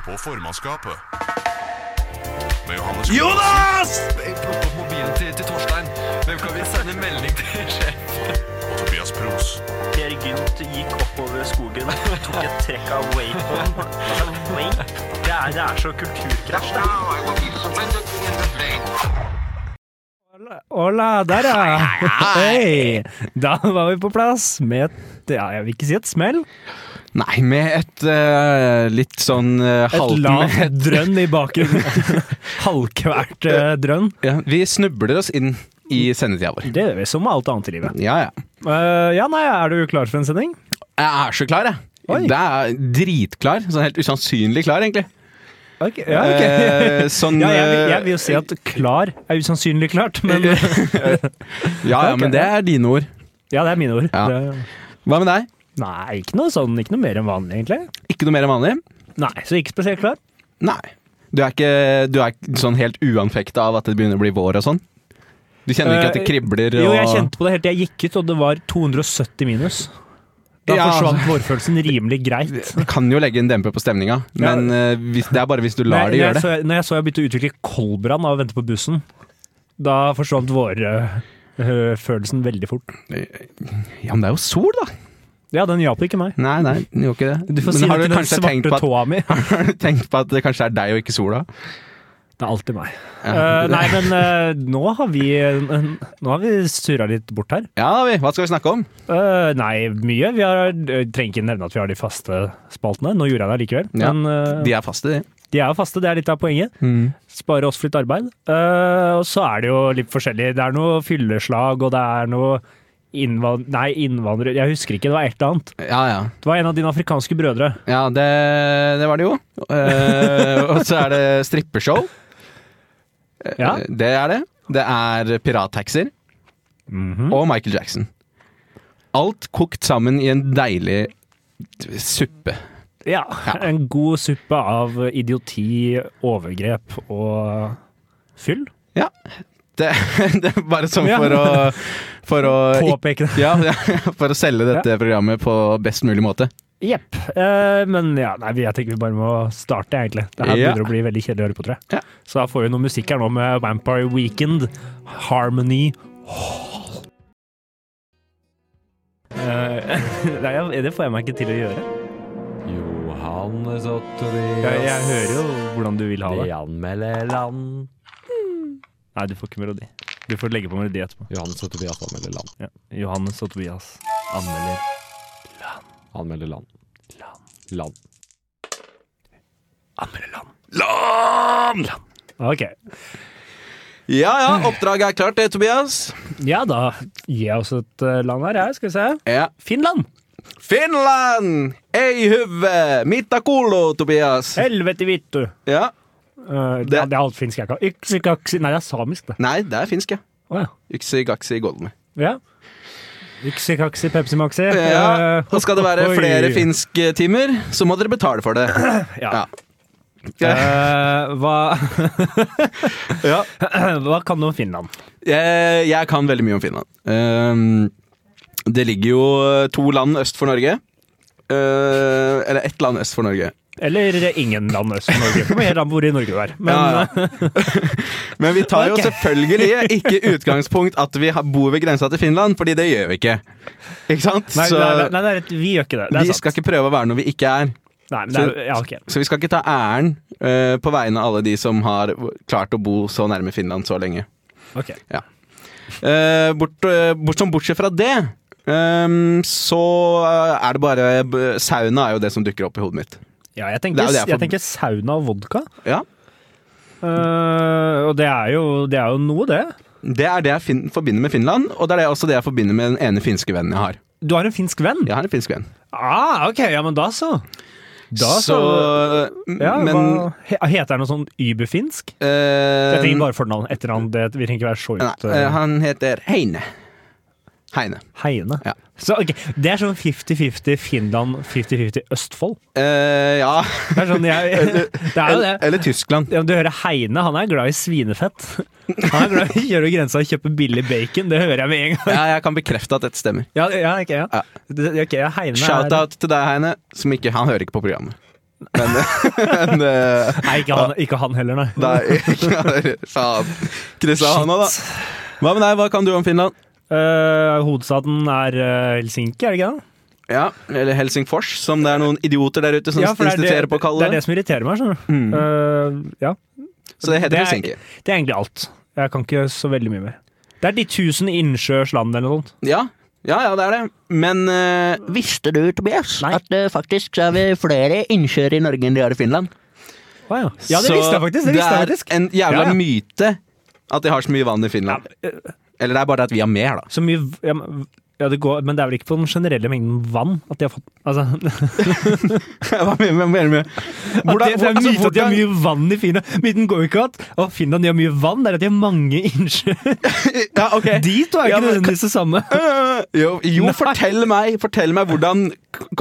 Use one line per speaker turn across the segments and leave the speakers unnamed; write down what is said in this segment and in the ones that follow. formannskapet. Med Johannes
Jonas!
Jeg plukker opp mobilen til, til Torstein. Hvem kan vi sende melding til? sjef?
og Tobias Pros.
Per Gynt gikk oppover skogen, tok et trekk av wapen. Altså, wake? Det er, det er så kulturkrasj, det.
Hola, der ja! Hei! Da var vi på plass med et ja, Jeg vil ikke si et smell.
Nei, med et eh, litt sånn eh,
Et
halvt-
lavt drønn i bakgrunnen. Halvkvært eh, drønn.
Ja, vi snubler oss inn i sendetida vår.
Det gjør vi som med alt annet i livet.
Ja, ja.
Eh, ja, nei, er du klar for en sending?
Jeg er så klar, jeg.
Oi.
Det er dritklar. Sånn helt usannsynlig klar, egentlig.
Ok, ja, ok.
Eh, sånn
Ja, jeg, vil,
eh,
jeg vil jo si at klar er usannsynlig klart, men
ja, ja,
ok,
men det er dine ord.
ja, det er mine ord.
Ja.
Det-
Hva med deg?
Nei, ikke noe sånn, ikke noe mer enn vanlig, egentlig.
Ikke noe mer enn vanlig?
Nei, så ikke spesielt klar.
Nei. Du er ikke, du er ikke sånn helt uanfekta av at det begynner å bli vår og sånn? Du kjenner ikke at det
Eh,
kribler og
Jo, jeg kjente på det helt til jeg gikk ut, og det var 270 minus. Da
Ja.
forsvant vårfølelsen rimelig greit.
Det kan jo legge en demper på stemninga,
Ja.
men eh, hvis, det er bare hvis du
Når
lar det
jeg- når
gjøre
jeg
det.
så, når jeg så jeg begynte å utvikle koldbrann av å vente på bussen, da forsvant vårfølelsen veldig fort.
Ja, men det er jo sol, da!
Ja, den hjalp ikke meg.
Nei, nei, den gjorde ikke det.
Du får
men
si
har
det
du
til den
kanskje tenkt på,
svarte
at,
tåa mi. Det
har du tenkt på at det kanskje er deg og ikke sola?
er alltid meg.
Ja.
Eh, nei, men eh, nå har vi, eh, nå har vi surra litt bort her.
Ja, vi. Hva skal vi snakke om?
Eh, nei, mye. Vi har, eh, trenger ikke nevne at vi har de faste spaltene. Nå gjorde jeg det allikevel.
Ja,
men eh,
De er faste, de.
de er jo faste, det er litt av poenget. Spare oss for litt arbeid. Eh, og så er det jo litt forskjellig. Det er noe fylleslag, og det er noe innvand... Nei, innvandrer... Jeg husker ikke, det var et eller annet.
Ja, ja.
Det var en av dine afrikanske brødre.
Ja, det, det var det jo. Eh, og så er det strippeshow.
Ja.
Eh, Det er det. Det er pirattaxier.
Mhm.
Og Michael Jackson. Alt kokt sammen i en deilig suppe.
Ja,
Ja.
En god suppe av idioti, overgrep og fyll.
Det, det er bare sånn
Ja.
for å For å,
Påpeke det.
ja, ja, for å selge dette programmet på best mulig måte.
Jepp. Eh, men ja, nei, jeg tenker vi bare må starte, egentlig. Det her
Ja.
begynner å bli veldig kjedelig å høre på, tror jeg.
Ja.
Så da får vi noe musikk her nå med Vampire Weekend, Harmony Eh, Nei, jeg- det får jeg meg ikke til å gjøre.
Johannes og
Jeg,
Tobias.
jeg hører jo hvordan du vil ha
De
det.
anmelder land.
Nei, du får ikke melodi. Du får legge på melodi etterpå.
Johannes og Tobias anmelder land.
Ja. Johannes og Tobias anmelder
Anmelder land. Land.
Anmelder land.
Land!
Ok.
Ja ja, oppdraget er klart det, Tobias.
Ja, da gir jeg oss et eh, land her, jeg. Skal vi se.
Ja.
Finland!
Finland! Ei huve! Mitta kulo, Tobias.
Helvete vittu!
Ja.
Eh, det,
Det-
det er alt finsk jeg kan. Yksikaksi Nei, det er samisk, det.
Nei, det er finsk, ja.
Å ja.
Yksi gaksi golme.
Ja. Yksikaksi, Pepsi Maxi.
Ja,
Eh,
og skal det være
oi.
flere finsktimer, så må dere betale for det.
Ja.
Ja.
Eh, hva,
Ja.
hva kan du om Finland?
Jeg, jeg kan veldig mye om Finland. Ehm, det ligger jo to land øst for Norge. Eh, eller ett land øst for Norge.
Eller ingen land øst for Norge. Kommer helt an på hvor i Norge du er. Men eh,
Ja, ja. Men vi tar jo
Ok.
selvfølgelig ikke utgangspunkt at vi har- bor ved grensa til Finland, fordi det gjør vi ikke. Ikke sant?
Nei,
så
nei, nei, nei, det er rett, vi gjør ikke det. Det
vi
er sant.
skal ikke prøve å være noe vi ikke er.
Nei, men det er, ja, ok.
Så vi skal ikke ta æren eh, på vegne av alle de som har klart å bo så nærme Finland så lenge.
Ok.
Eh, bort, eh, bort, som bortsett fra det, ehm, så eh, er det bare b- Sauna er jo det som dukker opp i hodet mitt.
Ja,
Det
jeg
er jo
tenker,
det jeg
jeg
får-
tenker sauna og vodka.
Ja,
Eh, og det er, jo, det er jo noe, det.
Det er det jeg fin forbinder med Finland, og det er det også det jeg forbinder med den ene finske vennen jeg har.
Du har en finsk venn?
Jeg har en finsk venn.
Ah, ok, ja, men da så. Da
så mm,
Ja,
Men
hva, he- heter han noe sånn überfinsk?
eh,
Jeg trenger bare fornavn. Etternavn, det vi trenger ikke være så
nei,
ut
eh,
eh,
Han heter Heine. Heine.
heiende.
Ja.
Så ok, Det er sånn 50-50 Finland, 50-50 Østfold.
Eh, ja
Det er sånn
Eh,
jeg Det er jo det.
Eller Tyskland.
Ja, men du hører Heine, han er glad i svinefett. Han er glad i å gjøre grensa og kjøpe billig bacon, det hører jeg med en gang.
Ja, jeg kan bekrefte at dette stemmer.
Ja, ja, ok, ja.
Ja.
Det- Ok, ja, Heine er
Shout-out til deg, Heine, som ikke Han hører ikke på programmet. Men, men eh,
Nei, ikke han, ikke han heller, nei.
Nei, ikke- faen. Kryssa handa, da. Hva med deg, hva kan du om Finland?
Eh, hovedstaden er eh, Helsinki, er det ikke det?
Ja, Eller Helsingfors, som det er noen idioter der ute som
for det, er
insisterer på Mm. å
det,
kalle
det er
det.
det som irriterer meg. skjønner du. Eh, ja.
Så det heter
det er-
Helsinki.
Det er egentlig alt. Jeg kan ikke så veldig mye mer. Det er de tusen innsjøers land eller noe sånt.
Ja. ja, ja, det er det. Men eh,
Visste du, Tobias,
Nei.
at eh, faktisk så er vi flere innsjøer i Norge enn de har i Finland?
Ja, det
så
visste jeg faktisk. Det, visste jeg faktisk.
er en jævla
Ja, eh, ja.
myte at de har så mye vann i Finland. Eller det er bare at vi har mer, da.
Så mye v- ja, men- ja, det går, Men det er vel ikke på den generelle mengden vann at de har fått altså,
Hva mener du med
at de, Det er
hvordan-
myte at de har
hvordan-
mye vann i Finland. Myten går jo ikke at å, Finland de har mye vann, det er at de har mange innsjøer.
Ja, ok.
De to er
Ja,
ikke
men-
nødvendigvis det samme.
Øh, Jo, jo fortell meg, fortell meg hvordan,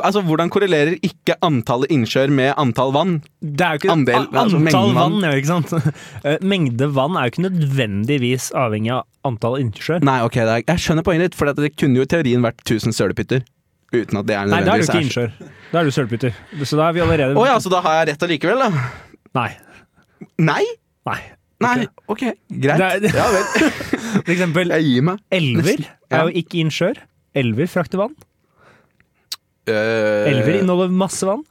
altså, hvordan korrelerer ikke antallet innsjøer med antall vann?
Det er jo ikke
Andel-
a- antall
altså, mengden vann.
vann, ja, ikke sant? Eh, Mengde vann er jo ikke nødvendigvis avhengig av antall innsjøer.
Nei, ok, det er, jeg skjønner poenget ditt, for at det kunne jo i teorien vært 1000 sølepytter. Uten at det er
Nei, da er du
nødvendigvis
ikke innsjøer. Da er du sølepytter. Så da er vi allerede
Å ja, så da har jeg rett allikevel, da?
Nei.
Nei?
Nei.
Nei, ok, greit.
Det er-
Ja vel.
For eksempel
Jeg gir meg.
elver
Ja.
er jo ikke innsjøer. Elver frakter vann.
Øh,
Elver inneholder masse vann.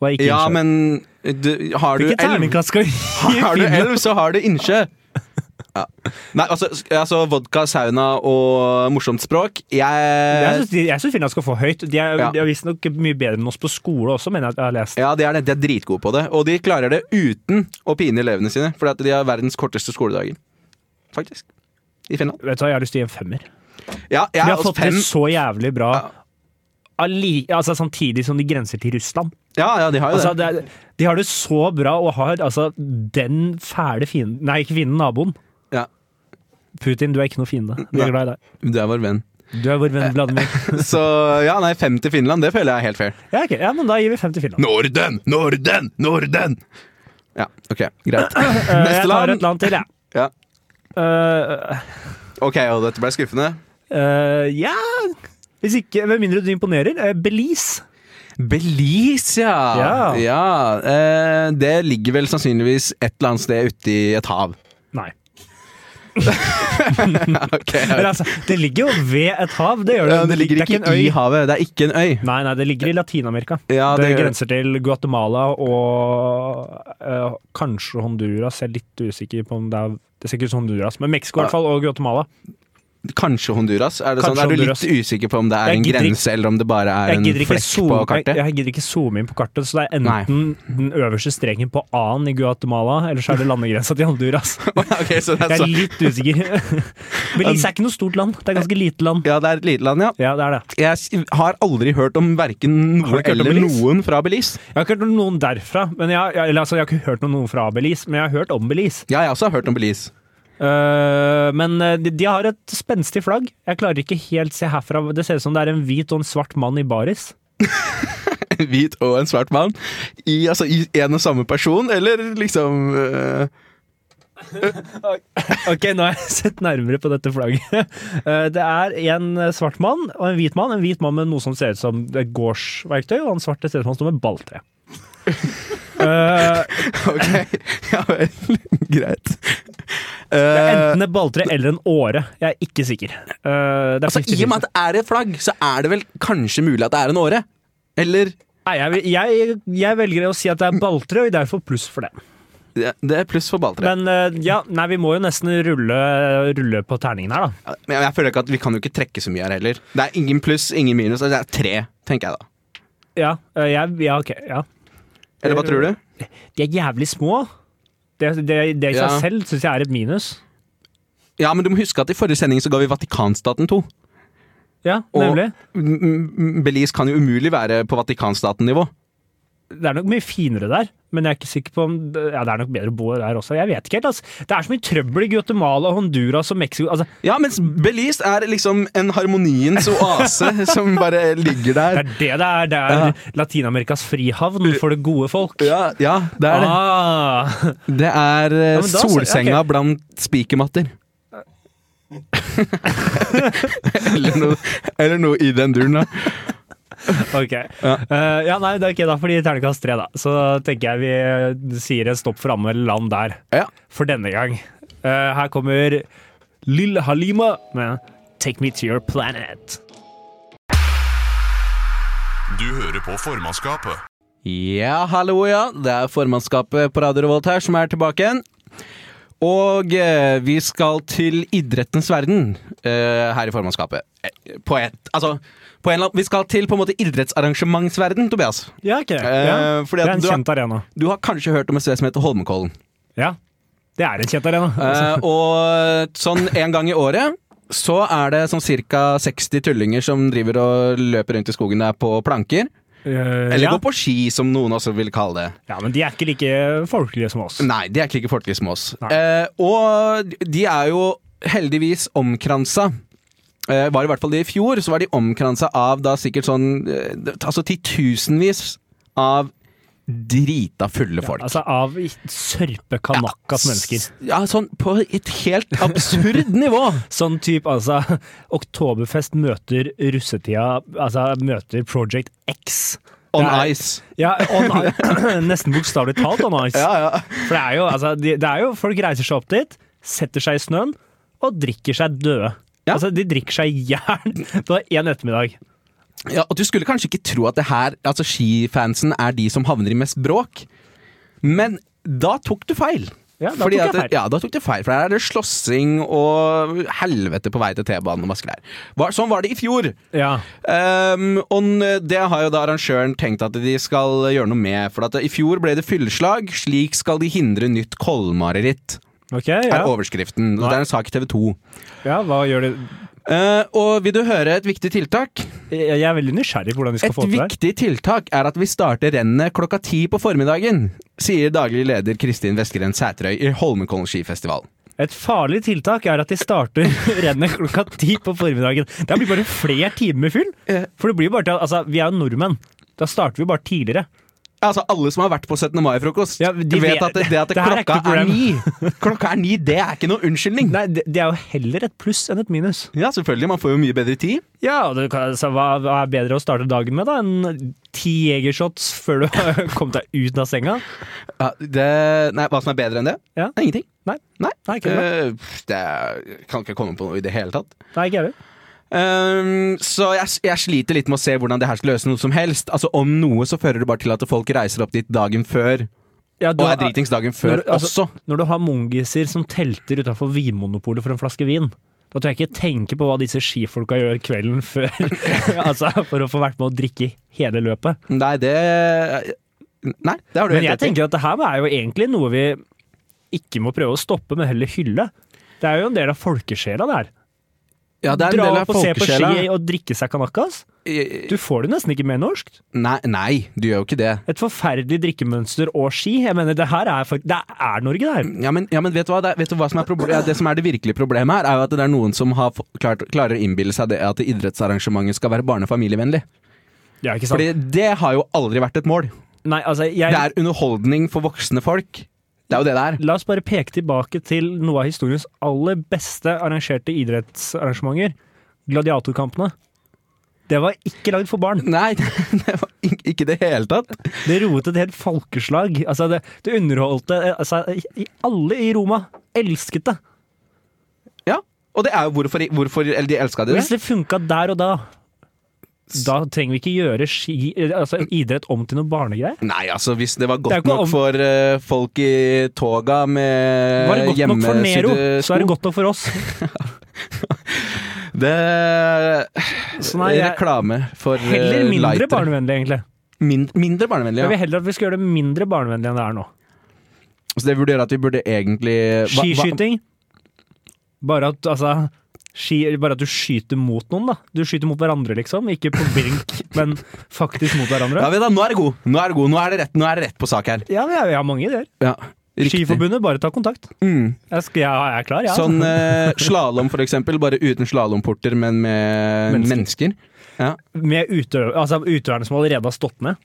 Og er ikke
Ja,
innsjøer.
men du, har du
Hvilken
elv,
terningkast skal vi gi
har du
Finland?
elv, så har du innsjø. Ja. Nei, altså, altså vodka, sauna og morsomt språk
Jeg
Jeg
syns- Jeg syns Finland skal få høyt. De er,
Ja.
de er visstnok mye bedre enn oss på skole også, mener jeg at jeg har lest.
Ja, de er det. De er dritgode på det. Og de klarer det uten å pine elevene sine, fordi at de har verdens korteste skoledager. Faktisk. I Finland.
Vet du hva, jeg har lyst til å gi en femmer.
Ja, jeg
De
er
har
også
fått det
fem.
så jævlig bra
Ja.
alli, altså, samtidig som de grenser til Russland.
Ja, ja, de har jo
Altså,
det.
det er, de har det så bra og har altså, den fæle fienden Nei, ikke fienden, naboen.
Ja.
Putin, du er ikke noe fiende. Vi
Nei.
er glad i deg.
Du er vår venn.
Du er vår venn Vladimir.
Så ja, nei, fem til Finland, det føler jeg er helt fair.
Ja, ok. ja, men da gir vi fem til Finland.
Norden! Norden! Norden! Ja, ok, greit.
Eh,
Neste
jeg tar
land.
et land til, jeg.
Ja.
Eh,
Ok, og dette ble skuffende.
eh, ja Hvis ikke, med mindre du imponerer. eh, Belize.
Belize, ja!
Ja.
eh, det ligger vel sannsynligvis et eller annet sted ute i et hav.
Nei.
Ok,
Men altså, det ligger jo ved et hav. Det gjør det.
Ja, det ligger
er
ikke
en øy.
i havet, det er ikke en øy.
Nei, nei, det ligger i Latin-Amerika.
Ja,
det,
det gjør det.
grenser til Guatemala og eh, kanskje Honduras. Jeg er litt usikker på om det er Det ser ikke ut som Honduras, men Mexico i hvert fall, og Guatemala.
Kanskje Honduras? Er, det sånn,
Kanskje
er du
Honduras.
litt usikker på om det er
Jeg
en
gidder ikke-
grense, eller om det bare er
Jeg
en
gidder, ikke
flekk på
zoome, jeg,
kartet?
jeg gidder ikke zoome inn på kartet, så det er enten den øverste streken på A-en i Guatemala, eller så er det landegrensa til Honduras.
Ok, så det
Jeg
er
er
så,
litt usikker. Belize er ikke noe stort land. Det er ganske lite land.
ja, det er et lite land, ja.
Ja, det er det.
Jeg s- har aldri hørt om verken
Har du
noe
ikke hørt om
eller
Belize?
noen fra Belize.
Jeg har ikke hørt om noen derfra. Men jeg, jeg, eller, altså, jeg har ikke hørt om noen fra Belize, men jeg har hørt om Belize.
Ja, jeg også har hørt om Belize.
Eh, men eh, de, de har et spenstig flagg. Jeg klarer ikke helt se herfra. Det ser ut som det er en hvit og en svart mann i baris.
En hvit og en svart mann. I, altså, I en og samme person, eller liksom øh,
Ok, nå har jeg sett nærmere på dette flagget. Eh, det er en eh, svart mann og en hvit mann. En hvit mann med noe som ser ut som et gårdsverktøy, og en svart det ser ut som han står med balltre. Eh,
Ok, ja vel. Greit.
det er
Eh,
enten et balltre eller en åre. Jeg er ikke sikker. Eh, det er
altså, I
50-50.
og med at det er et flagg, så er det vel kanskje mulig at det er en åre? Eller
Nei, jeg, jeg, jeg velger å si at det er balltre, og derfor pluss for det.
Det det er pluss for balltre.
Men eh, ja, nei, vi må jo nesten rulle, rulle på terningen her, da.
Ja, Men jeg føler ikke at vi kan jo ikke trekke så mye her heller. Det er ingen pluss, ingen minus. altså Det er tre, tenker jeg da.
Ja, eh, jeg, ja ok. Ja.
Eller hva tror du?
De er jævlig små. Det, det, det i seg
Ja.
selv syns jeg er et minus.
Ja, men du må huske at i forrige sending så ga vi Vatikanstaten to.
Ja,
Og
nemlig.
m- m- Belize kan jo umulig være på Vatikanstaten-nivå.
Det er nok mye finere der, men jeg er ikke sikker på om Ja, det er nok bedre å bo der også. Jeg vet ikke helt, altså. Det er så mye trøbbel i Guatemala, Honduras og Mexico. Altså,
Ja, mens Belize er liksom en harmoniens oase som bare ligger
det
der.
er det det er. Det er Latin-Amerikas frihavn for det gode folk.
Ja, ja det er det.
Ah.
Det er eh,
men da så-
solsenga
ok.
blant spikermatter. eller, noe, eller noe i den duren, da.
Ok. Ja. ja, nei, det er ikke da, fordi terningkast tre, da. Så tenker jeg vi eh, sier en stopp for Amel Land der.
Ja.
For denne gang. Eh, her kommer Lill Halima med Take Me To Your Planet.
Du hører på formannskapet.
Ja, hallo, ja. Det er formannskapet på Radio Revolt her som er tilbake igjen. Og eh, vi skal til idrettens verden eh, her i formannskapet. Eh, På et, altså, på en eller annen, vi skal til på en måte idrettsarrangementsverden, Tobias.
Ja, ok.
Eh, fordi at
det er en
du har-
kjent arena.
Du har kanskje hørt om et sted som heter Holmenkollen.
Ja, det er en kjent arena. Altså,
Eh, og sånn en gang i året så er det sånn ca. 60 tullinger som driver og løper rundt i skogen der på planker.
Eh,
Eller
ja.
går på ski, som noen også vil kalle det.
ja, men de er ikke like folkelige som oss.
Nei, de er ikke like folkelige som oss.
Nei.
Eh, og de er jo heldigvis omkransa. Eh, var i hvert fall det i fjor, så var de omkransa av da sikkert sånn eh, Altså titusenvis av drita fulle folk.
Altså av sørpekanakkas mennesker.
Ja, sånn på et helt absurd nivå!
Sånn type altså Oktoberfest møter russetida, altså møter Project X.
On
Det er-
ice.
Ja, on ice. Nesten bokstavelig talt on ice.
ja.
For det er, jo, altså, de, det er jo Folk reiser seg opp dit, setter seg i snøen og drikker seg døde.
Ja.
Altså, de drikker seg i hjel på én ettermiddag.
Ja, og Du skulle kanskje ikke tro at det her, altså skifansen er de som havner i mest bråk, men da tok du feil.
Ja, da tok
Fordi
jeg
at det-
feil.
Ja, da tok du feil, for her er det slåssing og helvete på vei til T-banen og masse greier. Var- Sånn var det i fjor.
Ja.
Ehm, og n- det har jo da arrangøren tenkt at de skal gjøre noe med. For at i fjor ble det fylleslag. Slik skal de hindre nytt kollmareritt,
Ok, ja.
er overskriften. Og Det er en sak i TV 2.
ja hva gjør de
Eh, og vil du høre et viktig tiltak?
Jeg er veldig nysgjerrig på hvordan de skal
Et
få til det. her.
viktig tiltak er at vi starter rennet klokka ti på formiddagen, sier daglig leder Kristin Vestgren Sæterøy i Holmenkollen skifestival.
Et farlig tiltak er at de starter rennet klokka ti på formiddagen. Det blir bare flere timer med fyll. For det blir bare til, at- altså, vi er jo nordmenn. Da starter vi bare tidligere.
Altså, alle som har vært på 17. mai-frokost,
Ja, de
vet
vet-
at det, det at
det her er
klokka
ikke
er,
et
ni Klokka er ni, det er ikke noe unnskyldning.
Nei, det, det er jo heller et pluss enn et minus.
Ja, selvfølgelig, man får jo mye bedre tid.
Ja, og du kan, altså, hva, hva er bedre å starte dagen med da enn ti jegershots før du har kommet deg ut av senga?
Ja, det, nei, hva som er bedre enn det?
Ja.
Det er ingenting.
Nei.
Nei,
Nei, ikke det.
Eh, pff, det er, kan ikke komme på noe i det hele tatt.
Nei, ikke heller.
Ehm, så jeg, jeg sliter litt med å se hvordan det her skal løse noe som helst. Altså Om noe så fører det bare til at folk reiser opp dit dagen før
Ja, du
Og
har-
er dritings dagen
når
før
du- altså,
også.
Når du har mongiser som telter utenfor Vinmonopolet for en flaske vin, da tør jeg ikke tenke på hva disse skifolka gjør kvelden før, altså, for å få vært med å drikke i hele løpet.
Nei, det Nei, det har du
Men
helt
jeg
rett i.
tenker at det her er jo egentlig noe vi ikke må prøve å stoppe, men heller hylle. Det er jo en del av folkesjela, det her.
Ja, det er en
Dra
del av
opp og se på
folkesjela.
ski og drikke seg kanakas. Du får det nesten ikke med norskt.
Nei, nei, du gjør jo ikke det.
Et forferdelig drikkemønster og ski. Jeg mener, det her er, fakt- det er Norge, det her.
Ja, men, ja, men vet du hva, det, er- vet du hva som er proble- ja, det som er det virkelige problemet her, er jo at det er noen som har f- klart, klarer å innbille seg det at idrettsarrangementet skal være barne- og familievennlig.
Ja, ikke sant?
Fordi det har jo aldri vært et mål.
Sånn. Nei, altså, jeg,
Det er underholdning for voksne folk. Det er jo det det er.
La oss bare peke tilbake til noe av historiens aller beste arrangerte idrettsarrangementer. Gladiatorkampene. Det var ikke lagd for barn.
Nei, det var ikke- ikke det hele tatt.
Det roet et helt folkeslag. Altså, det, det underholdte eh, altså, i- i- Alle i Roma elsket det.
Ja, Og det er jo hvorfor, hvorfor eller de elska det.
Hvis det funka der og da, da trenger vi ikke gjøre ski, eh, altså, idrett om til noe barnegreier.
Nei, altså hvis det var
Det er
godt
ikke
nok
om-
for eh, folk i toga med
Var det godt nok for Nero,
hjemmesydde
så er det godt nok for oss.
sko. Det
Så nei, Sånn jeg,
Reklame for eh,
heller mindre
lightere.
barnevennlig, egentlig.
Min, mindre barnevennlig,
Jeg
ja.
vil heller at vi skal gjøre det mindre barnevennlig enn det er nå.
Så Altså, det vurderer at vi burde egentlig hva- hva-
Skiskyting. Bare at, altså, ski, bare at du skyter mot noen, da. Du skyter mot hverandre, liksom. Ikke på blink, men faktisk mot
Ja,
hverandre.
vet du, nå er det god! Nå er det god, nå er det rett, nå er det rett på sak her.
Ja, vi har- vi har mange ideer.
Ja, riktig.
Skiforbundet, bare ta kontakt.
Mm.
Jeg, skal, jeg, jeg er klar, jeg. Ja. altså.
Sånn uh, slalåm, for eksempel. Bare uten slalåmporter, men med mennesker.
Mennesker. Med utøver, altså, utøverne som allerede har stått ned.